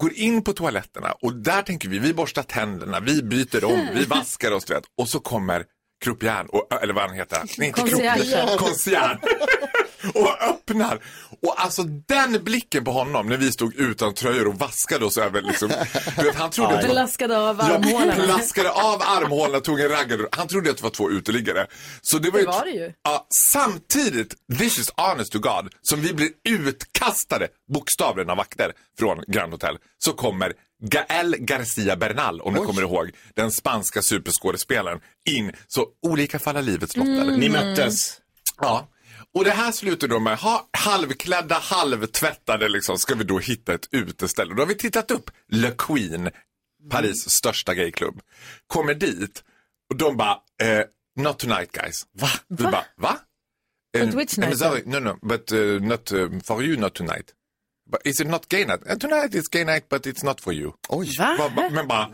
Går in på toaletterna och där tänker vi, vi borstar tänderna, vi byter om, vi vaskar oss du vet, och så kommer croupiern, och- eller vad han heter, Nej, inte
Concierge.
croupier, concierge och öppnar. Och alltså den blicken på honom när vi stod utan tröjor och vaskade oss över liksom, du vet, han trodde att det var-
Blaskade av
jag
armhålorna.
plaskade av armhålorna, tog en raggardur. Han trodde att det var två uteliggare. Så det var
Det var det ju.
Ja, samtidigt, this is honest to God, som vi blir utkastade, bokstavligen av vakter, från Grand Hotel, så kommer Gael Garcia Bernal, om ni kommer ihåg, den spanska superskådespelaren, in. Så olika fall av livets lottade.
Mm. Ni möttes.
Ja. Och det här slutar då med ha, halvklädda, halvtvättade liksom, ska vi då hitta ett uteställe. Då har vi tittat upp Le Queen, Paris största gayklubb. Kommer dit och de bara, eh, not tonight guys. Va? Vi bara, va?
But
Eh,
which
I'm
night,
Sorry, no, no, but uh, not uh, for you, not tonight. But is it not gay night? Uh, tonight is gay night, but it's not for you. Oj. Va? ba- men bara,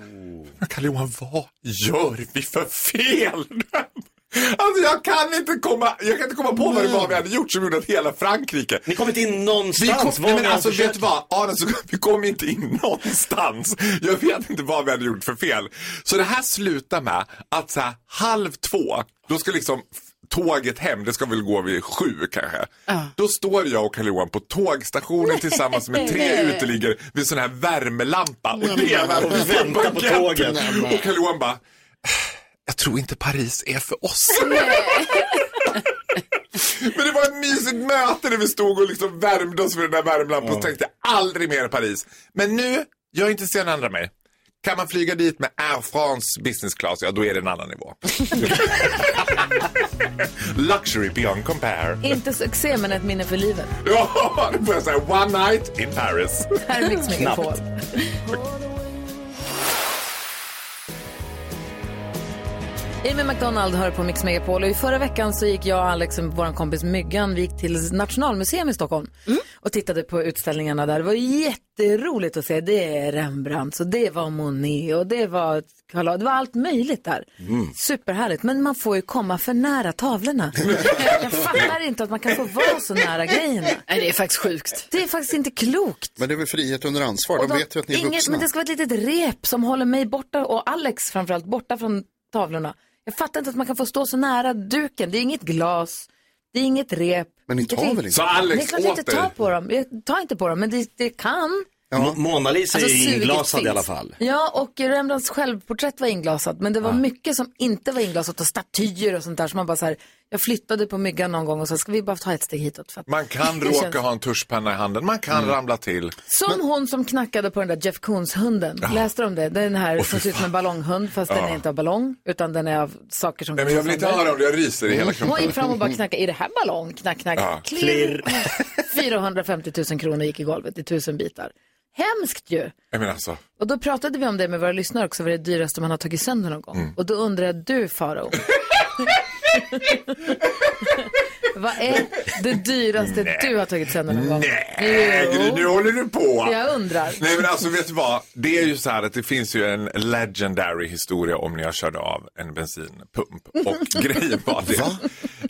men Kalle Johan, vad gör vi för fel? Alltså jag kan inte komma, jag kan inte komma på vad det var vi hade gjort som gjorde att hela Frankrike. Ni
kom inte in
Vi
någonstans.
kom,
Vad
nej, men
ni än
alltså vet
försökte.
du vad, Aron, så, vi kom inte in någonstans. Jag vet inte vad vi hade gjort för fel. Så det här slutar med att så här, halv två, då ska liksom f- tåget hem, det ska väl gå vid sju kanske. Då står jag och karl johan på tågstationen tillsammans med tre
Nej.
uteliggare vid sån här värmelampa och
Nej,
delar
men- och väntar på
baguetten.
tåget. Nej, men-
Och karl johan bara, jag tror inte Paris är för oss. Men det var ett mysigt möte när vi stod och liksom värmde oss för den där värmelampan och tänkte aldrig mer Paris. Men nu, jag är inte sen andra mig. Kan man flyga dit med Air France business class, ja då är det en annan nivå. Luxury beyond compare.
Inte succé, men ett minne för livet.
Ja, det får jag säga. One night in Paris.
Här är liksom Mix Megapol. Amy McDonald hör på Mix Megapol och i förra veckan så gick jag och Alex och vår
Mm.
kompis Myggan, vi gick till Nationalmuseum i Stockholm och tittade på utställningarna där. Det var jätte jätteroligt att se. Det är Rembrandt och det var Monet och det var Carl Det var allt möjligt där.
Mm.
Superhärligt, men man får ju komma för nära tavlorna. Jag fattar inte att man kan få vara så nära grejerna.
Nej, det är faktiskt sjukt.
Det är faktiskt inte klokt.
Men det är väl frihet under ansvar? De,
Och de-
vet ju att ni är
inget-
vuxna.
Men det ska vara ett litet rep som håller mig borta och Alex framförallt borta från tavlorna. Jag fattar inte att man kan få stå så nära duken. Det är inget glas, det är inget rep.
Men ni
Det
tar
finns-
väl inte? Så Alex
Det är klart jag inte
åt er.
tar på dem. Jag tar inte på dem, men det, det kan.
Mo- Mona Lisa
Alltså,
är ju
suget
inglasad i
finns.
alla fall.
Ja, och Rembrandts självporträtt var inglasat, men det var mycket som inte var inglasat och statyer och sånt där. Så man bara så här, jag flyttade på myggan någon gång och så ska vi bara ta ett steg hitåt. För att
Man kan
det
råka
känns-
ha en tuschpenna i handen, man kan
Mm.
ramla till.
Som hon som knackade på den där Jeff Koons-hunden. Läste du om det? Den här som ser ut som en ballonghund fast den
Ja.
är inte av ballong utan den är av saker som...
Nej, men jag vill inte höra om det, jag ryser i hela kroppen.
Hon gick Mm. fram och bara knackade. Är det här ballong? Knack, knack.
Ja.
Klirr. 450 000 kronor gick i golvet i tusen bitar. Hemskt ju.
Jag menar alltså,
Och då pratade vi om det med våra lyssnare också, vad det dyraste man har tagit sönder någon gång.
Mm.
Och då undrar du, Faro. vad är det dyraste
Nej.
du har tagit sönder någon gång?
nej Gry, nu håller du på.
Jag undrar.
Nej men alltså vet du vad, det är ju så här att det finns ju en legendary historia om när jag körde av en bensinpump. Och grejen var det.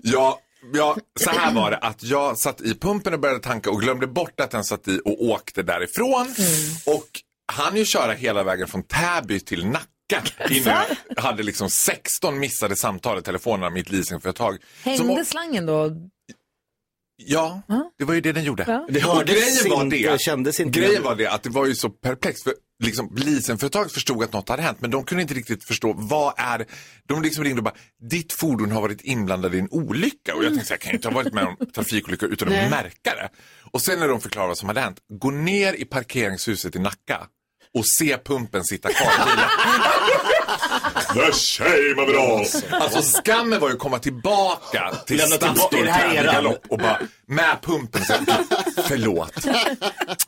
Jag, jag, så här var det att jag satt i pumpen och började tanka och glömde bort att den satt i och åkte därifrån.
Mm.
Och han ju köra hela vägen från Täby till Nacka. Innan jag hade liksom 16 missade samtal i telefonerna mitt leasingföretag. Som
Hängde slangen då?
Ja, det var ju det den gjorde.
Ja.
Det
och
hördes
grejen var
inte,
det,
kändes inte.
grejen var det att det var ju så perplext. För liksom, leasingföretaget förstod att något hade hänt men de kunde inte riktigt förstå vad är, de liksom ringde och bara, ditt fordon har varit inblandad i en olycka. Och jag tänkte, så här, jag kan ju inte ha varit med om trafikolyckor utan att
Nej.
märka det. Och sen när de förklarar vad som hade hänt, gå ner i parkeringshuset i Nacka och se pumpen sitta kvar i bilen. The shame of it all. Alltså skammen var ju att komma tillbaka till
Lämna tillbaka- är det här
Statoil i
eran?
galopp och bara med pumpen. Så, förlåt.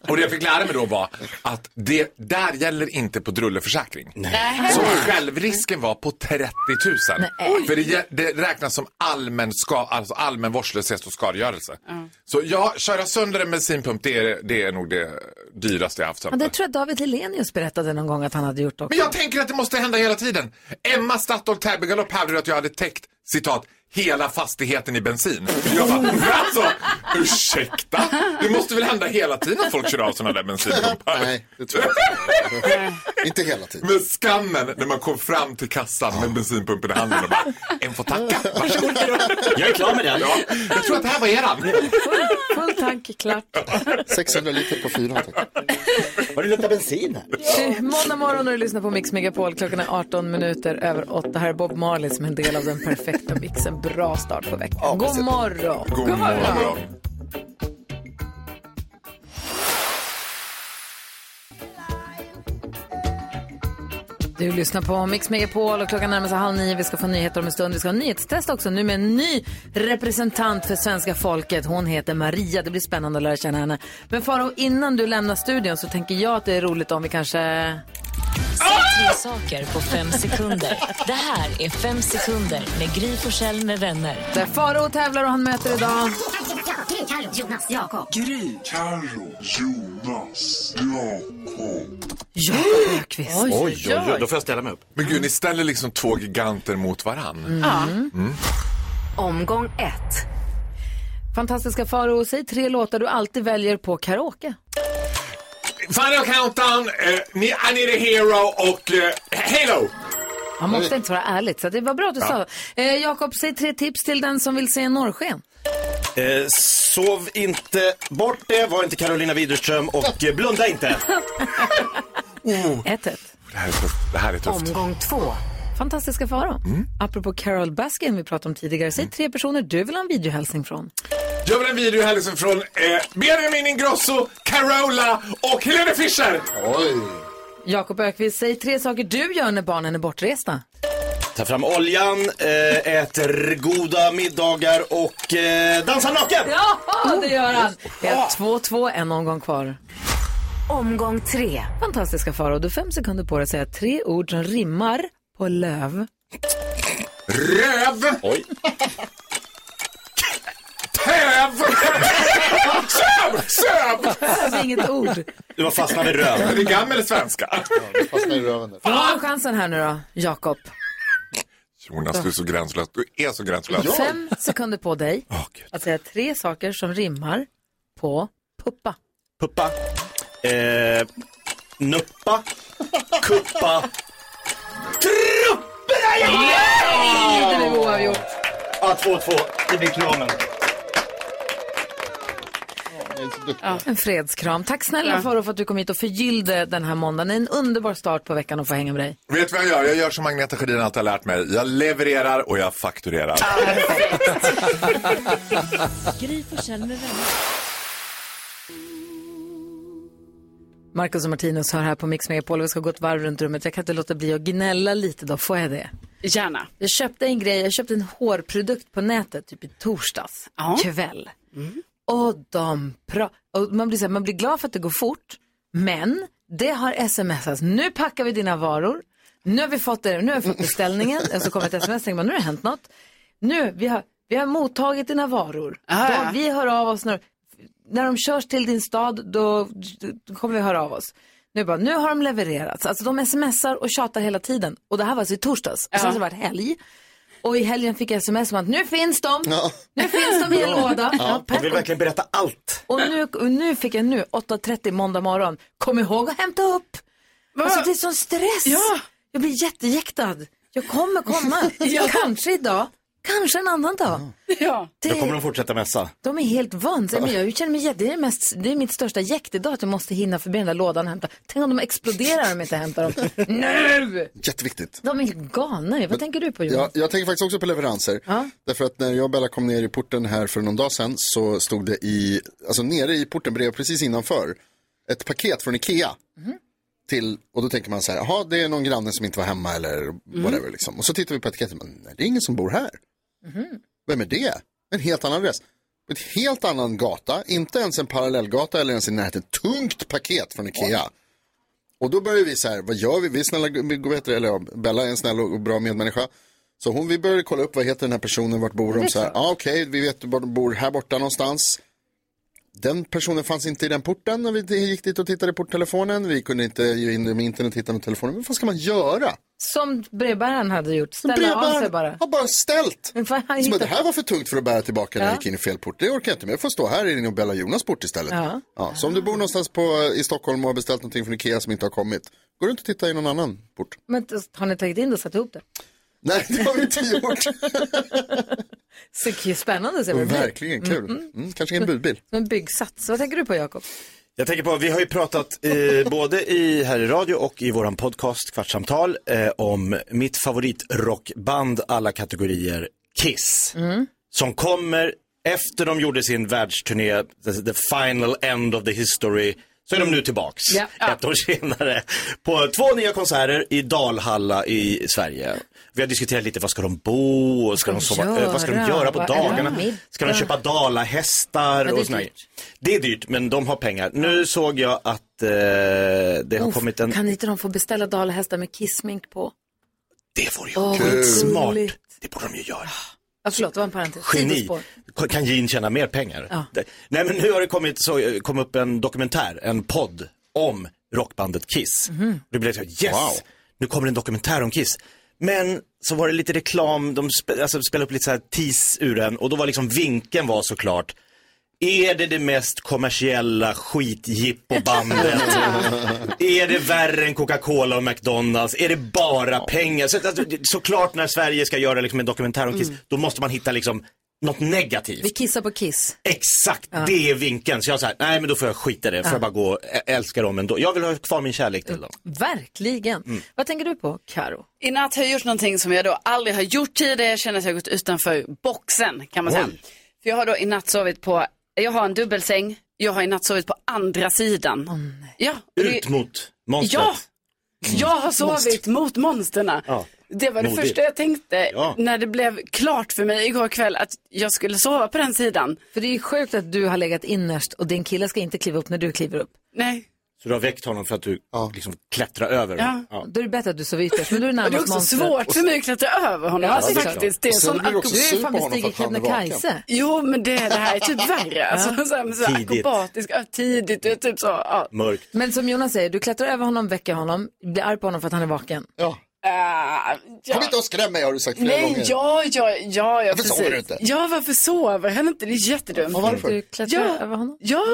Och det jag fick lära mig då var att det där gäller inte på drulleförsäkring.
Nej.
Så självrisken var på 30 000.
Nej.
För det, gä- det räknas som allmän, ska, alltså allmän vårdslöshet och skadegörelse. Så ja, köra sönder en bensinpump det är, det är nog det dyraste jag haft.
Ja, det tror jag David Helenius berättade någon gång att han hade gjort också.
Men jag tänker att det måste hända hela tiden. Emma Statoil Täbygalopp hävdade att jag hade täckt, citat, hela fastigheten i bensin. Jag bara, alltså, ursäkta? Det måste väl hända hela tiden att folk kör av sådana där bensinpumpar? Nej, det tror jag inte. inte hela tiden. Men skammen när man kom fram till kassan med bensinpumpen i handen och bara, en får tacka, varsågod. Jag är klar med den. Ja, jag tror att det här var eran.
Full, full tanke klart.
600 liter på fyran.
Har du luktat bensin här?
Eh, Måndag morgon och du lyssnar på Mix Megapol. Klockan är 18 minuter över 8. Här är Bob Marley som är en del av den perfekta mixen. Bra start på veckan. God
precis.
morgon.
God morgon.
Du lyssnar på Mix Megapol och klockan närmar sig halv nio. Vi ska få nyheter om en stund. Vi ska ha nyhetstest också nu med en ny representant för svenska folket. Hon heter Maria. Det blir spännande att lära känna henne. Men Faro, innan du lämnar studion så tänker jag att det är roligt om vi kanske
Tre saker på fem sekunder. Det här är Fem sekunder med Gry Forssell med vänner.
Där Faro tävlar och han möter idag...
Gry, Carro, Jonas, Jakob.
Gry, Carro, Jonas, Jakob.
Oj,
Oj,
oj, oj.
Då får jag ställa mig upp. Men gud, ni ställer liksom två giganter mot varann.
Ja.
Mm.
Omgång ett. Fantastiska Faro, säg tre låtar du alltid väljer på karaoke.
Final Countdown, eh, ni- I need a hero och eh, Halo!
Man måste inte vara ärligt, så det var bra att du
Ja.
sa. Eh, Jakob, säg tre tips till den som vill se norrsken.
Eh, sov inte bort det, var inte Carolina Widerström och eh, blunda inte.
Ett, ett.
Det här är tufft. Det här är tufft.
Omgång två. Fantastiska Faro, apropå Carol Baskin vi pratade om tidigare, säg tre personer du vill ha en videohälsning från.
Jag vill en video här liksom från eh, Benjamin Ingrosso, Carola och Helene Fischer. Oj.
Jakob Ökvist, säg tre saker du gör när barnen är bortresta.
Ta fram oljan, eh, äter goda middagar och eh, dansar naken.
Ja, det gör han! Oh, Det är 2-2, en omgång kvar. Omgång tre. Fantastiska Faro, du har fem sekunder på dig att säga tre ord som rimmar på löv.
Röv. Oj. Töv. Söv! Söv!
Det är inget ord.
Du var fastnad i röven. Det är gammal svenska.
Fastnade i röven där.
Får du chansen här nu då, Jakob?
Jonas, du är så gränslös. Du är så gränslös.
Fem sekunder på dig att säga tre saker som rimmar på puppa.
Puppa. Eh, nuppa. Kuppa.
Trupperna Jakob! Det blev oavgjort.
Ja, 2-2. Det blir kramen.
En fredskram. Tack snälla
Ja.
Faro, för att du kom hit och förgyllde den här måndagen. En underbar start på veckan att få hänga med dig.
Vet du vad jag gör? Jag gör som Agneta Sjödin alltid har lärt mig. Jag levererar och jag fakturerar.
Gry Forssell med vänner.
Marcus och Martinus hör här på Mix Megapol. Vi ska gå ett varv runt rummet. Jag kan inte låta bli att gnälla lite då. Får jag det?
Gärna.
Jag köpte en grej. Jag köpte en hårprodukt på nätet typ i torsdags kväll. Och de pra- och man, blir så här, man blir glad för att det går fort. Men det har smsats. Nu packar vi dina varor. Nu har vi fått, det, nu har vi fått beställningen. Och så kommer ett sms. Tänker man, nu har det hänt något. Nu, vi har, vi har mottagit dina varor.
Ah,
Då,
ja.
Vi hör av oss när, när de körs till din stad. Då, då kommer vi höra av oss. Nu, bara, nu har de levererats. Alltså de smsar och tjatar hela tiden. Och det här var alltså i torsdags. Och sen
Ja.
så var det helg. Och i helgen fick jag sms om att nu finns de. Nu finns de i en låda. Ja,
Jag vill verkligen berätta allt.
och nu, och nu fick jag nu 8.30 måndag morgon. Kom ihåg att hämta upp. Alltså det är sån stress. Ja. Jag blir jättejäktad. Jag kommer komma.
Ja.
Kanske idag. Kanske en annan dag.
Ja.
Då kommer de fortsätta mässa.
De är helt vansinniga. Jag känner mig jätte... Det är, mest, det är mitt största jäkt idag att jag måste hinna förbi den där lådan och hämta. Tänk om de exploderar om jag inte hämtar dem. Nu!
Jätteviktigt.
De är helt galna ju. Vad tänker du på
Ja,
Jonas?
jag tänker faktiskt också på leveranser. Därför att när jag och Bella kom ner i porten här för någon dag sedan så stod det i, alltså nere i porten bredvid precis innanför, ett paket från Ikea. Till, och då tänker man så här, jaha det är någon granne som inte var hemma eller whatever liksom. Och så tittar vi på etiketten, men nej, det är ingen som bor här. Vem är det? En helt annan adress. På ett helt annan gata, inte ens en parallellgata eller ens i närheten. Tungt paket från Ikea. Och då började vi så här, vad gör vi? Vi är snälla, vi går bättre, eller ja, Bella är en snäll och bra medmänniska. Så hon, vi började kolla upp, vad heter den här personen, vart bor de? Så här, ah, okej, vi vet var de bor, här borta någonstans. Den personen fanns inte i den porten när vi gick dit och tittade i porttelefonen. Vi kunde inte ju in med internet och titta med telefonen. Men vad ska man göra?
Som brevbäraren hade gjort.
Men
Ställa av sig
brevbäraren
bara.
Har bara ställt.
Men vad har han
Så bara,
hittat
det här var för tungt för att bära tillbaka när jag gick in i fel port. Det orkar jag inte med. Jag får stå här i din och Bella Jonas port istället.
Ja.
så om du bor någonstans på, i Stockholm och har beställt någonting från Ikea som inte har kommit. Går du inte och titta i någon annan port?
Men t- har ni tagit in det och satt ihop det?
Nej, det har vi inte gjort.
Så k- spännande att se vad det blir.
Verkligen kul. Mm, kanske en budbil.
Som en byggsats. Vad tänker du på Jakob?
Jag tänker på, vi har ju pratat eh, både i, här i radio och i våran podcast Kvartssamtal eh, om mitt favoritrockband alla kategorier, Kiss. Som kommer efter de gjorde sin världsturné, the, the final end of the history, så är de nu tillbaks
Ja.
ett år senare på två nya konserter i Dalhalla i Sverige. Vi har diskuterat lite, vad ska de bo och ska de sova, eh, vad ska de göra på
Vad är
dagarna?
middag?
Ska de köpa dalahästar
Ja, det är
och såna här-
dyrt.
det är dyrt, men de har pengar. Nu såg jag att eh, det har
Uff,
kommit en...
Kan inte de få beställa dalahästar med kissmink på?
Det vore ju
Åh, vad
kul. Smart.
gulligt.
Det borde de ju göra.
Ja, förlåt, det var en parentes.
Geni.
Sidospår.
Kan Jean tjäna mer pengar?
Ja.
Det- Nej, men nu har det kommit så, eh, kom upp en dokumentär, en podd om rockbandet Kiss.
Mhm.
Det blev så här, yes,
Wow.
nu kommer en dokumentär om Kiss. Men så var det lite reklam, de spe, alltså, spelade upp lite så här tease ur den och då var liksom vinkeln var såklart är det det mest kommersiella skitjippobandet? är det värre än Coca-Cola och McDonalds? Är det bara pengar? Så, alltså, det- såklart när Sverige ska göra liksom en dokumentär om Kiss,
Mm.
då måste man hitta liksom något negativt.
Vi kissar på kiss.
Exakt
Ja.
det är vinkeln. Så jag säger, nej men då får jag skita i det, får
Ja.
jag bara gå och ä- älska dem ändå. Jag vill ha kvar min kärlek till dem.
Verkligen. Vad tänker du på, Karo?
I natt har jag gjort någonting som jag då aldrig har gjort tidigare. Jag känner att jag har gått utanför boxen kan man säga.
Oj.
För jag har då i natt sovit på, jag har en dubbelsäng, jag har i natt sovit på andra sidan. ja, och Mm. det-
Ut mot monstret.
Ja, jag har sovit mot monsterna.
Ja.
Det var det
Modigt.
första jag tänkte
Ja.
när det blev klart för mig igår kväll att jag skulle sova på den sidan.
För det är ju sjukt att du har legat innerst och din kille ska inte kliva upp när du kliver upp.
Nej.
Så du har väckt honom för att du liksom klättrar över.
Ja. Då är det bättre att du sover ytterst, men då är du
Det är
närmast
också
monstret.
svårt för mig att klättra över honom.
Ja,
alltså,
det är klart.
faktiskt. Det är en
Sen
sån
blir det också
akrobat-
synd på Det är fan honom för att bestiger han är Kebnekaise. vaken.
Jo, men det, det här är typ värre.
Ja.
Alltså, så här, men så här,
Tidigt.
akrobatisk, ja, tidigt, det är typ så. Ja.
Mörkt.
Men som Jonas säger, du klättrar över honom, väcker honom, blir arg på honom för att han är vaken.
Ja. Kom inte och skräm mig har du sagt flera
Nej,
gånger.
ja, ja, ja, ja,
Varför sover du inte?
Ja, varför sover han inte? Det är jättedumt.
Och varför? Du
klättrar
ja,
över honom?
Ja,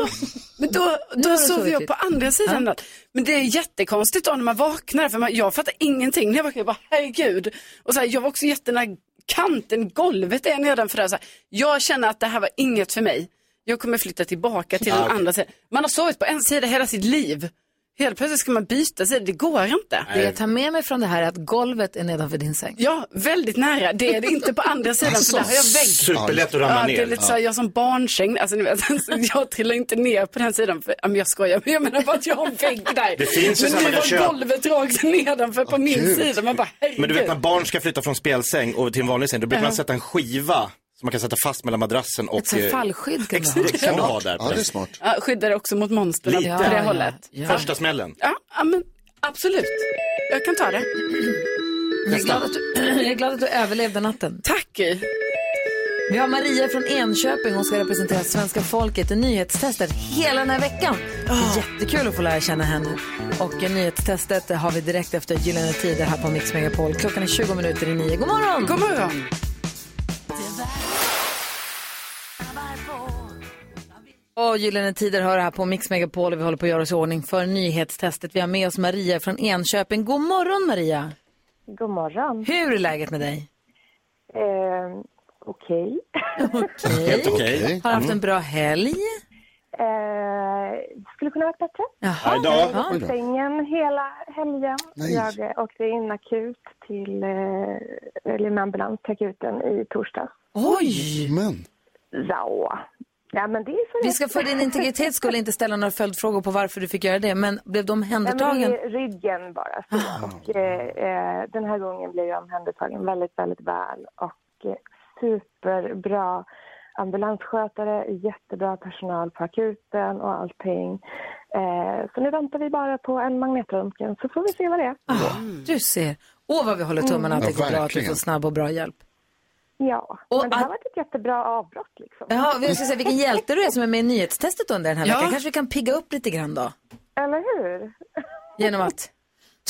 men då,
Nu har
då
du
sover
sovit
jag
lite.
på andra
Ja.
sidan. natt. Men det är jättekonstigt då när man vaknar, för man, jag fattar ingenting. När jag vaknar, jag bara, herregud. Och så här, jag var också jättenära kanten, golvet är nedanför där. Så här, jag känner att det här var inget för mig. Jag kommer flytta tillbaka till
Ja,
Ah,
den
okej.
andra sidan. Man har sovit på en sida hela sitt liv. Helt plötsligt ska man byta sida, det går inte.
Det jag tar med mig från det här är att golvet är nedanför din säng.
Ja, väldigt nära. Det är det inte på andra sidan,
Alltså,
för där har jag vägg.
superlätt att ramla
ja, Det
ner.
är lite så här,
Ja.
jag har som barnsäng, alltså, ni vet, alltså, jag trillar inte ner på den sidan. För, ja, men jag skojar, men jag menar bara att jag har en vägg där.
Det finns ju så
men
här
nu
man kan
var
köpa-
golvet rakt nedanför på min
kul.
sida. Man bara, herregud.
Men du vet när barn ska flytta från spelsäng och till en vanlig säng, då brukar
Ja.
man sätta en skiva som man kan sätta fast mellan madrassen och...
Ett sånt
eh,
fallskydd kan man
ex-
ha.
Det kan du ha där.
Ja, det är smart.
ja, skyddar också mot monster på
Lite.
det
Ja, ja,
hållet. Ja.
Första smällen.
Ja, men absolut. Jag kan ta det.
Jag är glad att du, jag är glad att du överlevde natten.
Tack!
Vi har Maria från Enköping. Hon ska representera svenska folket i nyhetstestet hela den här veckan. Det
Ah.
är jättekul att få lära känna henne. Och eh, nyhetstestet har vi direkt efter Gyllene Tider här på Mix Megapol. Klockan är 20 minuter i nio. God morgon!
God morgon!
Och Gyllene Tider hör här på Mix Megapol och vi håller på att göra oss i ordning för nyhetstestet. Vi har med oss Maria från Enköping. God morgon Maria!
God morgon.
Hur är läget med dig?
Eh, okej.
Helt
okej. Mm.
Har haft en bra helg?
Eh, skulle kunna vara bättre.
Aj då.
Jag
Oj
var
då.
på sängen hela helgen.
Nej.
Jag eh, åkte in akut till, eh, eller med ambulans till akuten i torsdags.
Oj!
Men.
Ja. ja men det är för
Vi ska för din integritets skull inte ställa några följdfrågor på varför du fick göra det, men blev du
Nej, men det
omhändertagen? Ah.
är ryggen bara. Så. Och, eh, eh, den här gången blev jag omhändertagen väldigt, väldigt väl. Och eh, superbra ambulansskötare, jättebra personal på akuten och allting. Eh, så nu väntar vi bara på en magnetröntgen så får vi se vad det är.
Ah, du ser. Åh, vad vi håller tummarna att det
Mm. Ja,
går bra, att du får
verkligen.
snabb och bra hjälp.
Ja, men det här var ett jättebra avbrott liksom.
Ja, jag ska säga vilken hjälte du är som är med i nyhetstestet under den här
Ja.
veckan. Kanske vi kan pigga upp lite grann då?
Eller hur?
Genom att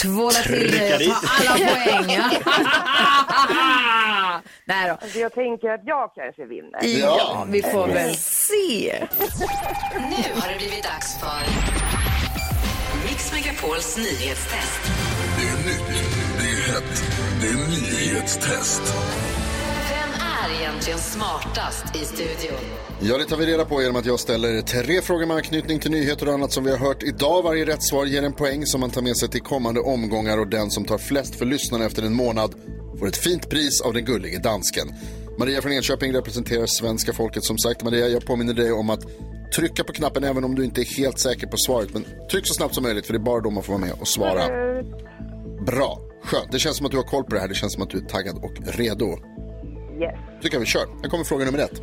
tvåla till dig och
dit.
ta alla poäng. Nej då.
Alltså, jag tänker att jag kanske vinner.
Ja, vi får
Mm.
väl se.
Nu har det blivit dags för Mix Megapols nyhetstest.
Det är nytt, det är hett, det är nyhetstest.
Vem är egentligen smartast i studion?
Ja, det tar vi reda på genom att jag ställer tre frågor med anknytning till nyheter och annat som vi har hört idag. Varje rätt svar ger en poäng som man tar med sig till kommande omgångar och den som tar flest för lyssnarna efter en månad får ett fint pris av den gullige dansken. Maria från Enköping representerar svenska folket som sagt. Maria, jag påminner dig om att trycka på knappen även om du inte är helt säker på svaret. Men tryck så snabbt som möjligt för det är bara då man får vara med och svara. Bra, skönt. Det känns som att du har koll på det här. Det känns som att du är taggad och redo.
Yes.
tycker jag vi kör. Här kommer fråga nummer ett.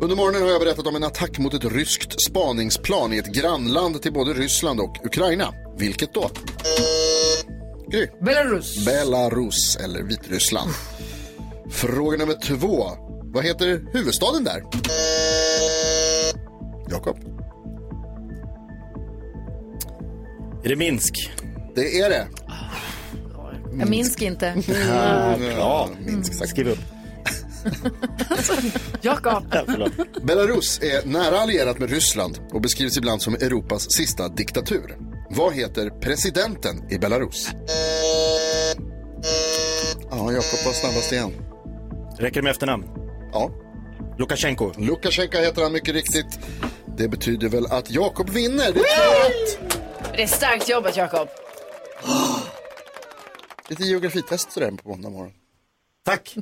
Under morgonen har jag berättat om en attack mot ett ryskt spaningsplan i ett grannland till både Ryssland och Ukraina. Vilket då? Gry.
Belarus.
Belarus eller Vitryssland. Fråga nummer två. Vad heter huvudstaden där? Jakob.
Är det Minsk?
Det är det.
Jag minns inte.
Mm.
Ja, Minsk sagt.
Skriv upp.
Jakob.
Belarus är nära allierat med Ryssland och beskrivs ibland som Europas sista diktatur. Vad heter presidenten i Belarus? Ja, Jakob var snabbast igen.
Räcker det med efternamn?
Ja.
Lukasjenko?
Lukasjenko heter han mycket riktigt. Det betyder väl att Jakob vinner. Det är
Det är starkt jobbat, Jakob.
lite geografitest sådär på måndag morgon.
Tack.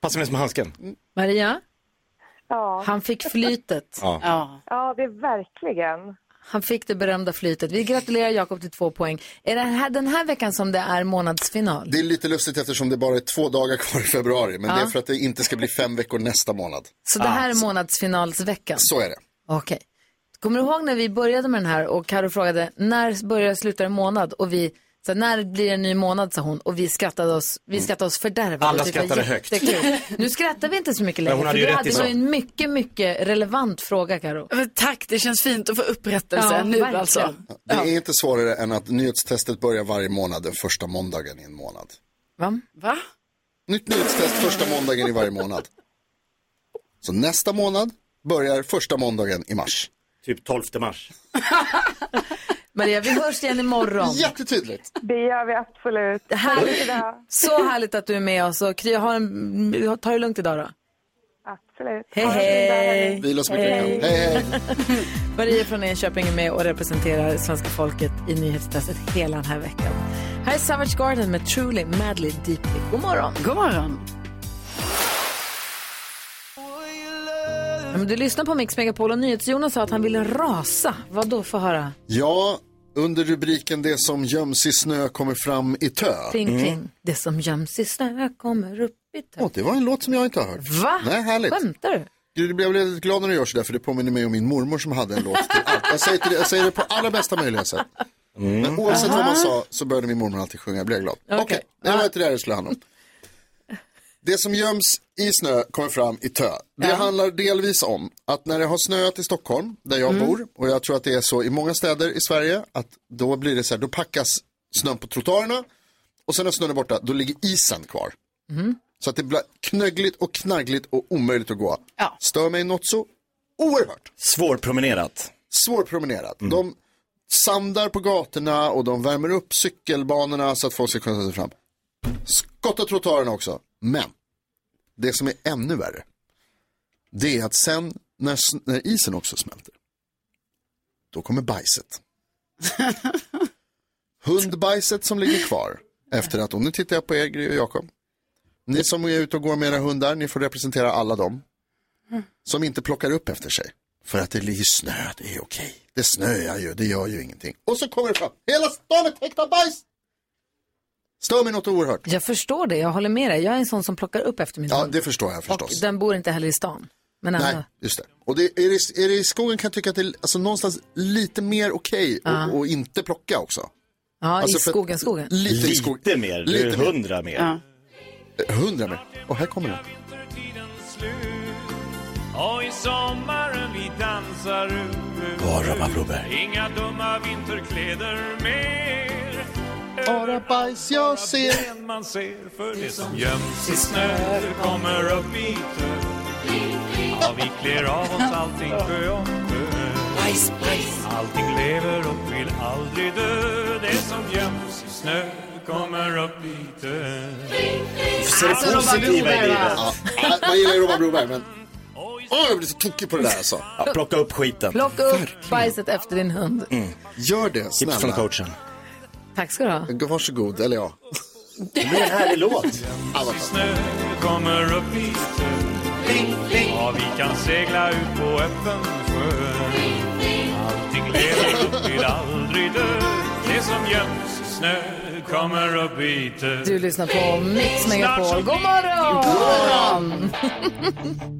Passar mig som handsken.
Maria,
Ja.
han fick flytet.
Ja.
Ja, det är verkligen.
Han fick det berömda flytet. Vi gratulerar Jakob till två poäng. Är det här, den här veckan som det är månadsfinal?
Det är lite lustigt eftersom det bara är två dagar kvar i februari. Men det är
Ja.
för att det
Ah,
inte ska bli fem veckor nästa månad.
Ah.
Så det här är månadsfinalsveckan?
Så är det.
Okej. Kommer du ihåg när vi började med den här och Karo frågade när börjar slutar en månad? Och vi så när blir det en ny månad sa hon och vi skrattade oss, vi skrattade oss fördärvade.
Mm. Alla
Det var
skrattade högt.
jättekul. Nu skrattar vi inte så mycket
Men
längre.
hon hade
för
ju
du
rätt
hade
i
ju
sak.
en mycket, mycket relevant fråga Karo.
Men tack, det känns fint att få upprättelse
Ja,
nu
verkligen.
alltså.
Det är inte svårare än att nyhetstestet börjar varje månad den första måndagen i en månad.
Va?
Va?
Nytt nyhetstest första måndagen i varje månad. Så nästa månad börjar första måndagen i mars.
Typ 12 mars.
Maria, vi hörs igen imorgon.
Jättetydligt.
Det gör vi absolut.
Härligt. Så härligt att du är med oss och Kry, ha en, ta det lugnt idag då.
Absolut.
Hej
Ha en fin dag,
hej!
hörni. Vila så mycket ni kan. Hej, hej.
Maria från Enköping är med och representerar svenska folket i nyhetstestet hela den här veckan. Här är Savage Garden med Truly Madly Deeply. God morgon!
God morgon!
Ja, men du lyssnar på Mix Megapol och NyhetsJonas sa att han ville rasa. Vad då för höra?
Ja, under rubriken Det som göms i snö kommer fram i tö. Mm.
Pling, pling. Det som göms i snö kommer upp i tö.
Åh, det var en låt som jag inte har hört.
Va?
Nej, härligt.
Skämtar du?
Jag blir väldigt glad när du gör sådär för det påminner mig om min mormor som hade en låt till allt. Jag säger, till det, jag säger det på allra bästa möjliga sätt. Men oavsett vad man sa så började min mormor alltid sjunga, jag blev glad. Okej, det var inte det det skulle handla om. Det som göms i snö kommer fram i tö. Det handlar delvis om att när det har snöat i Stockholm, där jag
Mm.
bor, och jag tror att det är så i många städer i Sverige, att då blir det så här, då packas snön på trottoarerna och sen när snön är borta, då ligger isen kvar. Så att det blir knöggligt och knarkligt och omöjligt att gå. Stör mig något så oerhört.
Svårpromenerat.
Svårpromenerat. De sandar på gatorna och de värmer upp cykelbanorna så att folk ska kunna ta sig fram. Skotta trottoarerna också. Men det som är ännu värre, det är att sen när, s- när isen också smälter, då kommer bajset. Hundbajset som ligger kvar efter att, och nu tittar jag på er Gry och Jakob, ni som är ute och går med era hundar, ni får representera alla dem som inte plockar upp efter sig. För att det ligger snö, det är okej. Det snöar ju, det gör ju ingenting. Och så kommer det fram, hela stan är täckt av bajs! Stör mig något oerhört.
Jag förstår det, jag håller med dig. Jag är en sån som plockar upp efter min
Ja,
hund.
det förstår jag förstås.
Den bor inte heller i stan. Men ändå.
Nej, just det. Och det, är, det, är det i skogen kan jag tycka att det är alltså, någonstans lite mer okej att
Ja.
och, inte plocka också.
Ja,
Alltså,
i
för-
skogen, skogen.
Lite, i skogen.
Lite mer, det är hundra mer. Ja.
Eh, Hundra mer. Och här kommer det.
Och i sommaren vi dansar ut
Bara man provar.
Inga dumma vinterkläder mer
Bara bajs jag ser
än man ser För det som göms i snö kommer upp i tö Ja, vi klär av oss allting sjö om sjö
Bajs, bajs.
Allting lever och vill aldrig dö Det som göms i snö kommer upp i tö
Ser det Alltså, Robban positiva i Broberg, livet? va? Ja, man gillar ju Robban Broberg, men... Åh, jag blir så tokig på det där alltså.
Ja, plocka upp skiten.
Plocka upp bajset efter din hund.
Mm. Gör det, snälla.
från coachen.
Tack ska du ha.
Varsågod, eller ja.
Det blir en härlig låt.
Snö kommer upp i tö Ja, vi kan segla ut på öppen sjö Allting lever upp, vill aldrig dö Det som göms i snö kommer upp i tö
Du lyssnar på Mix Megapol. God
God
morgon!
morgon!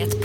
Ett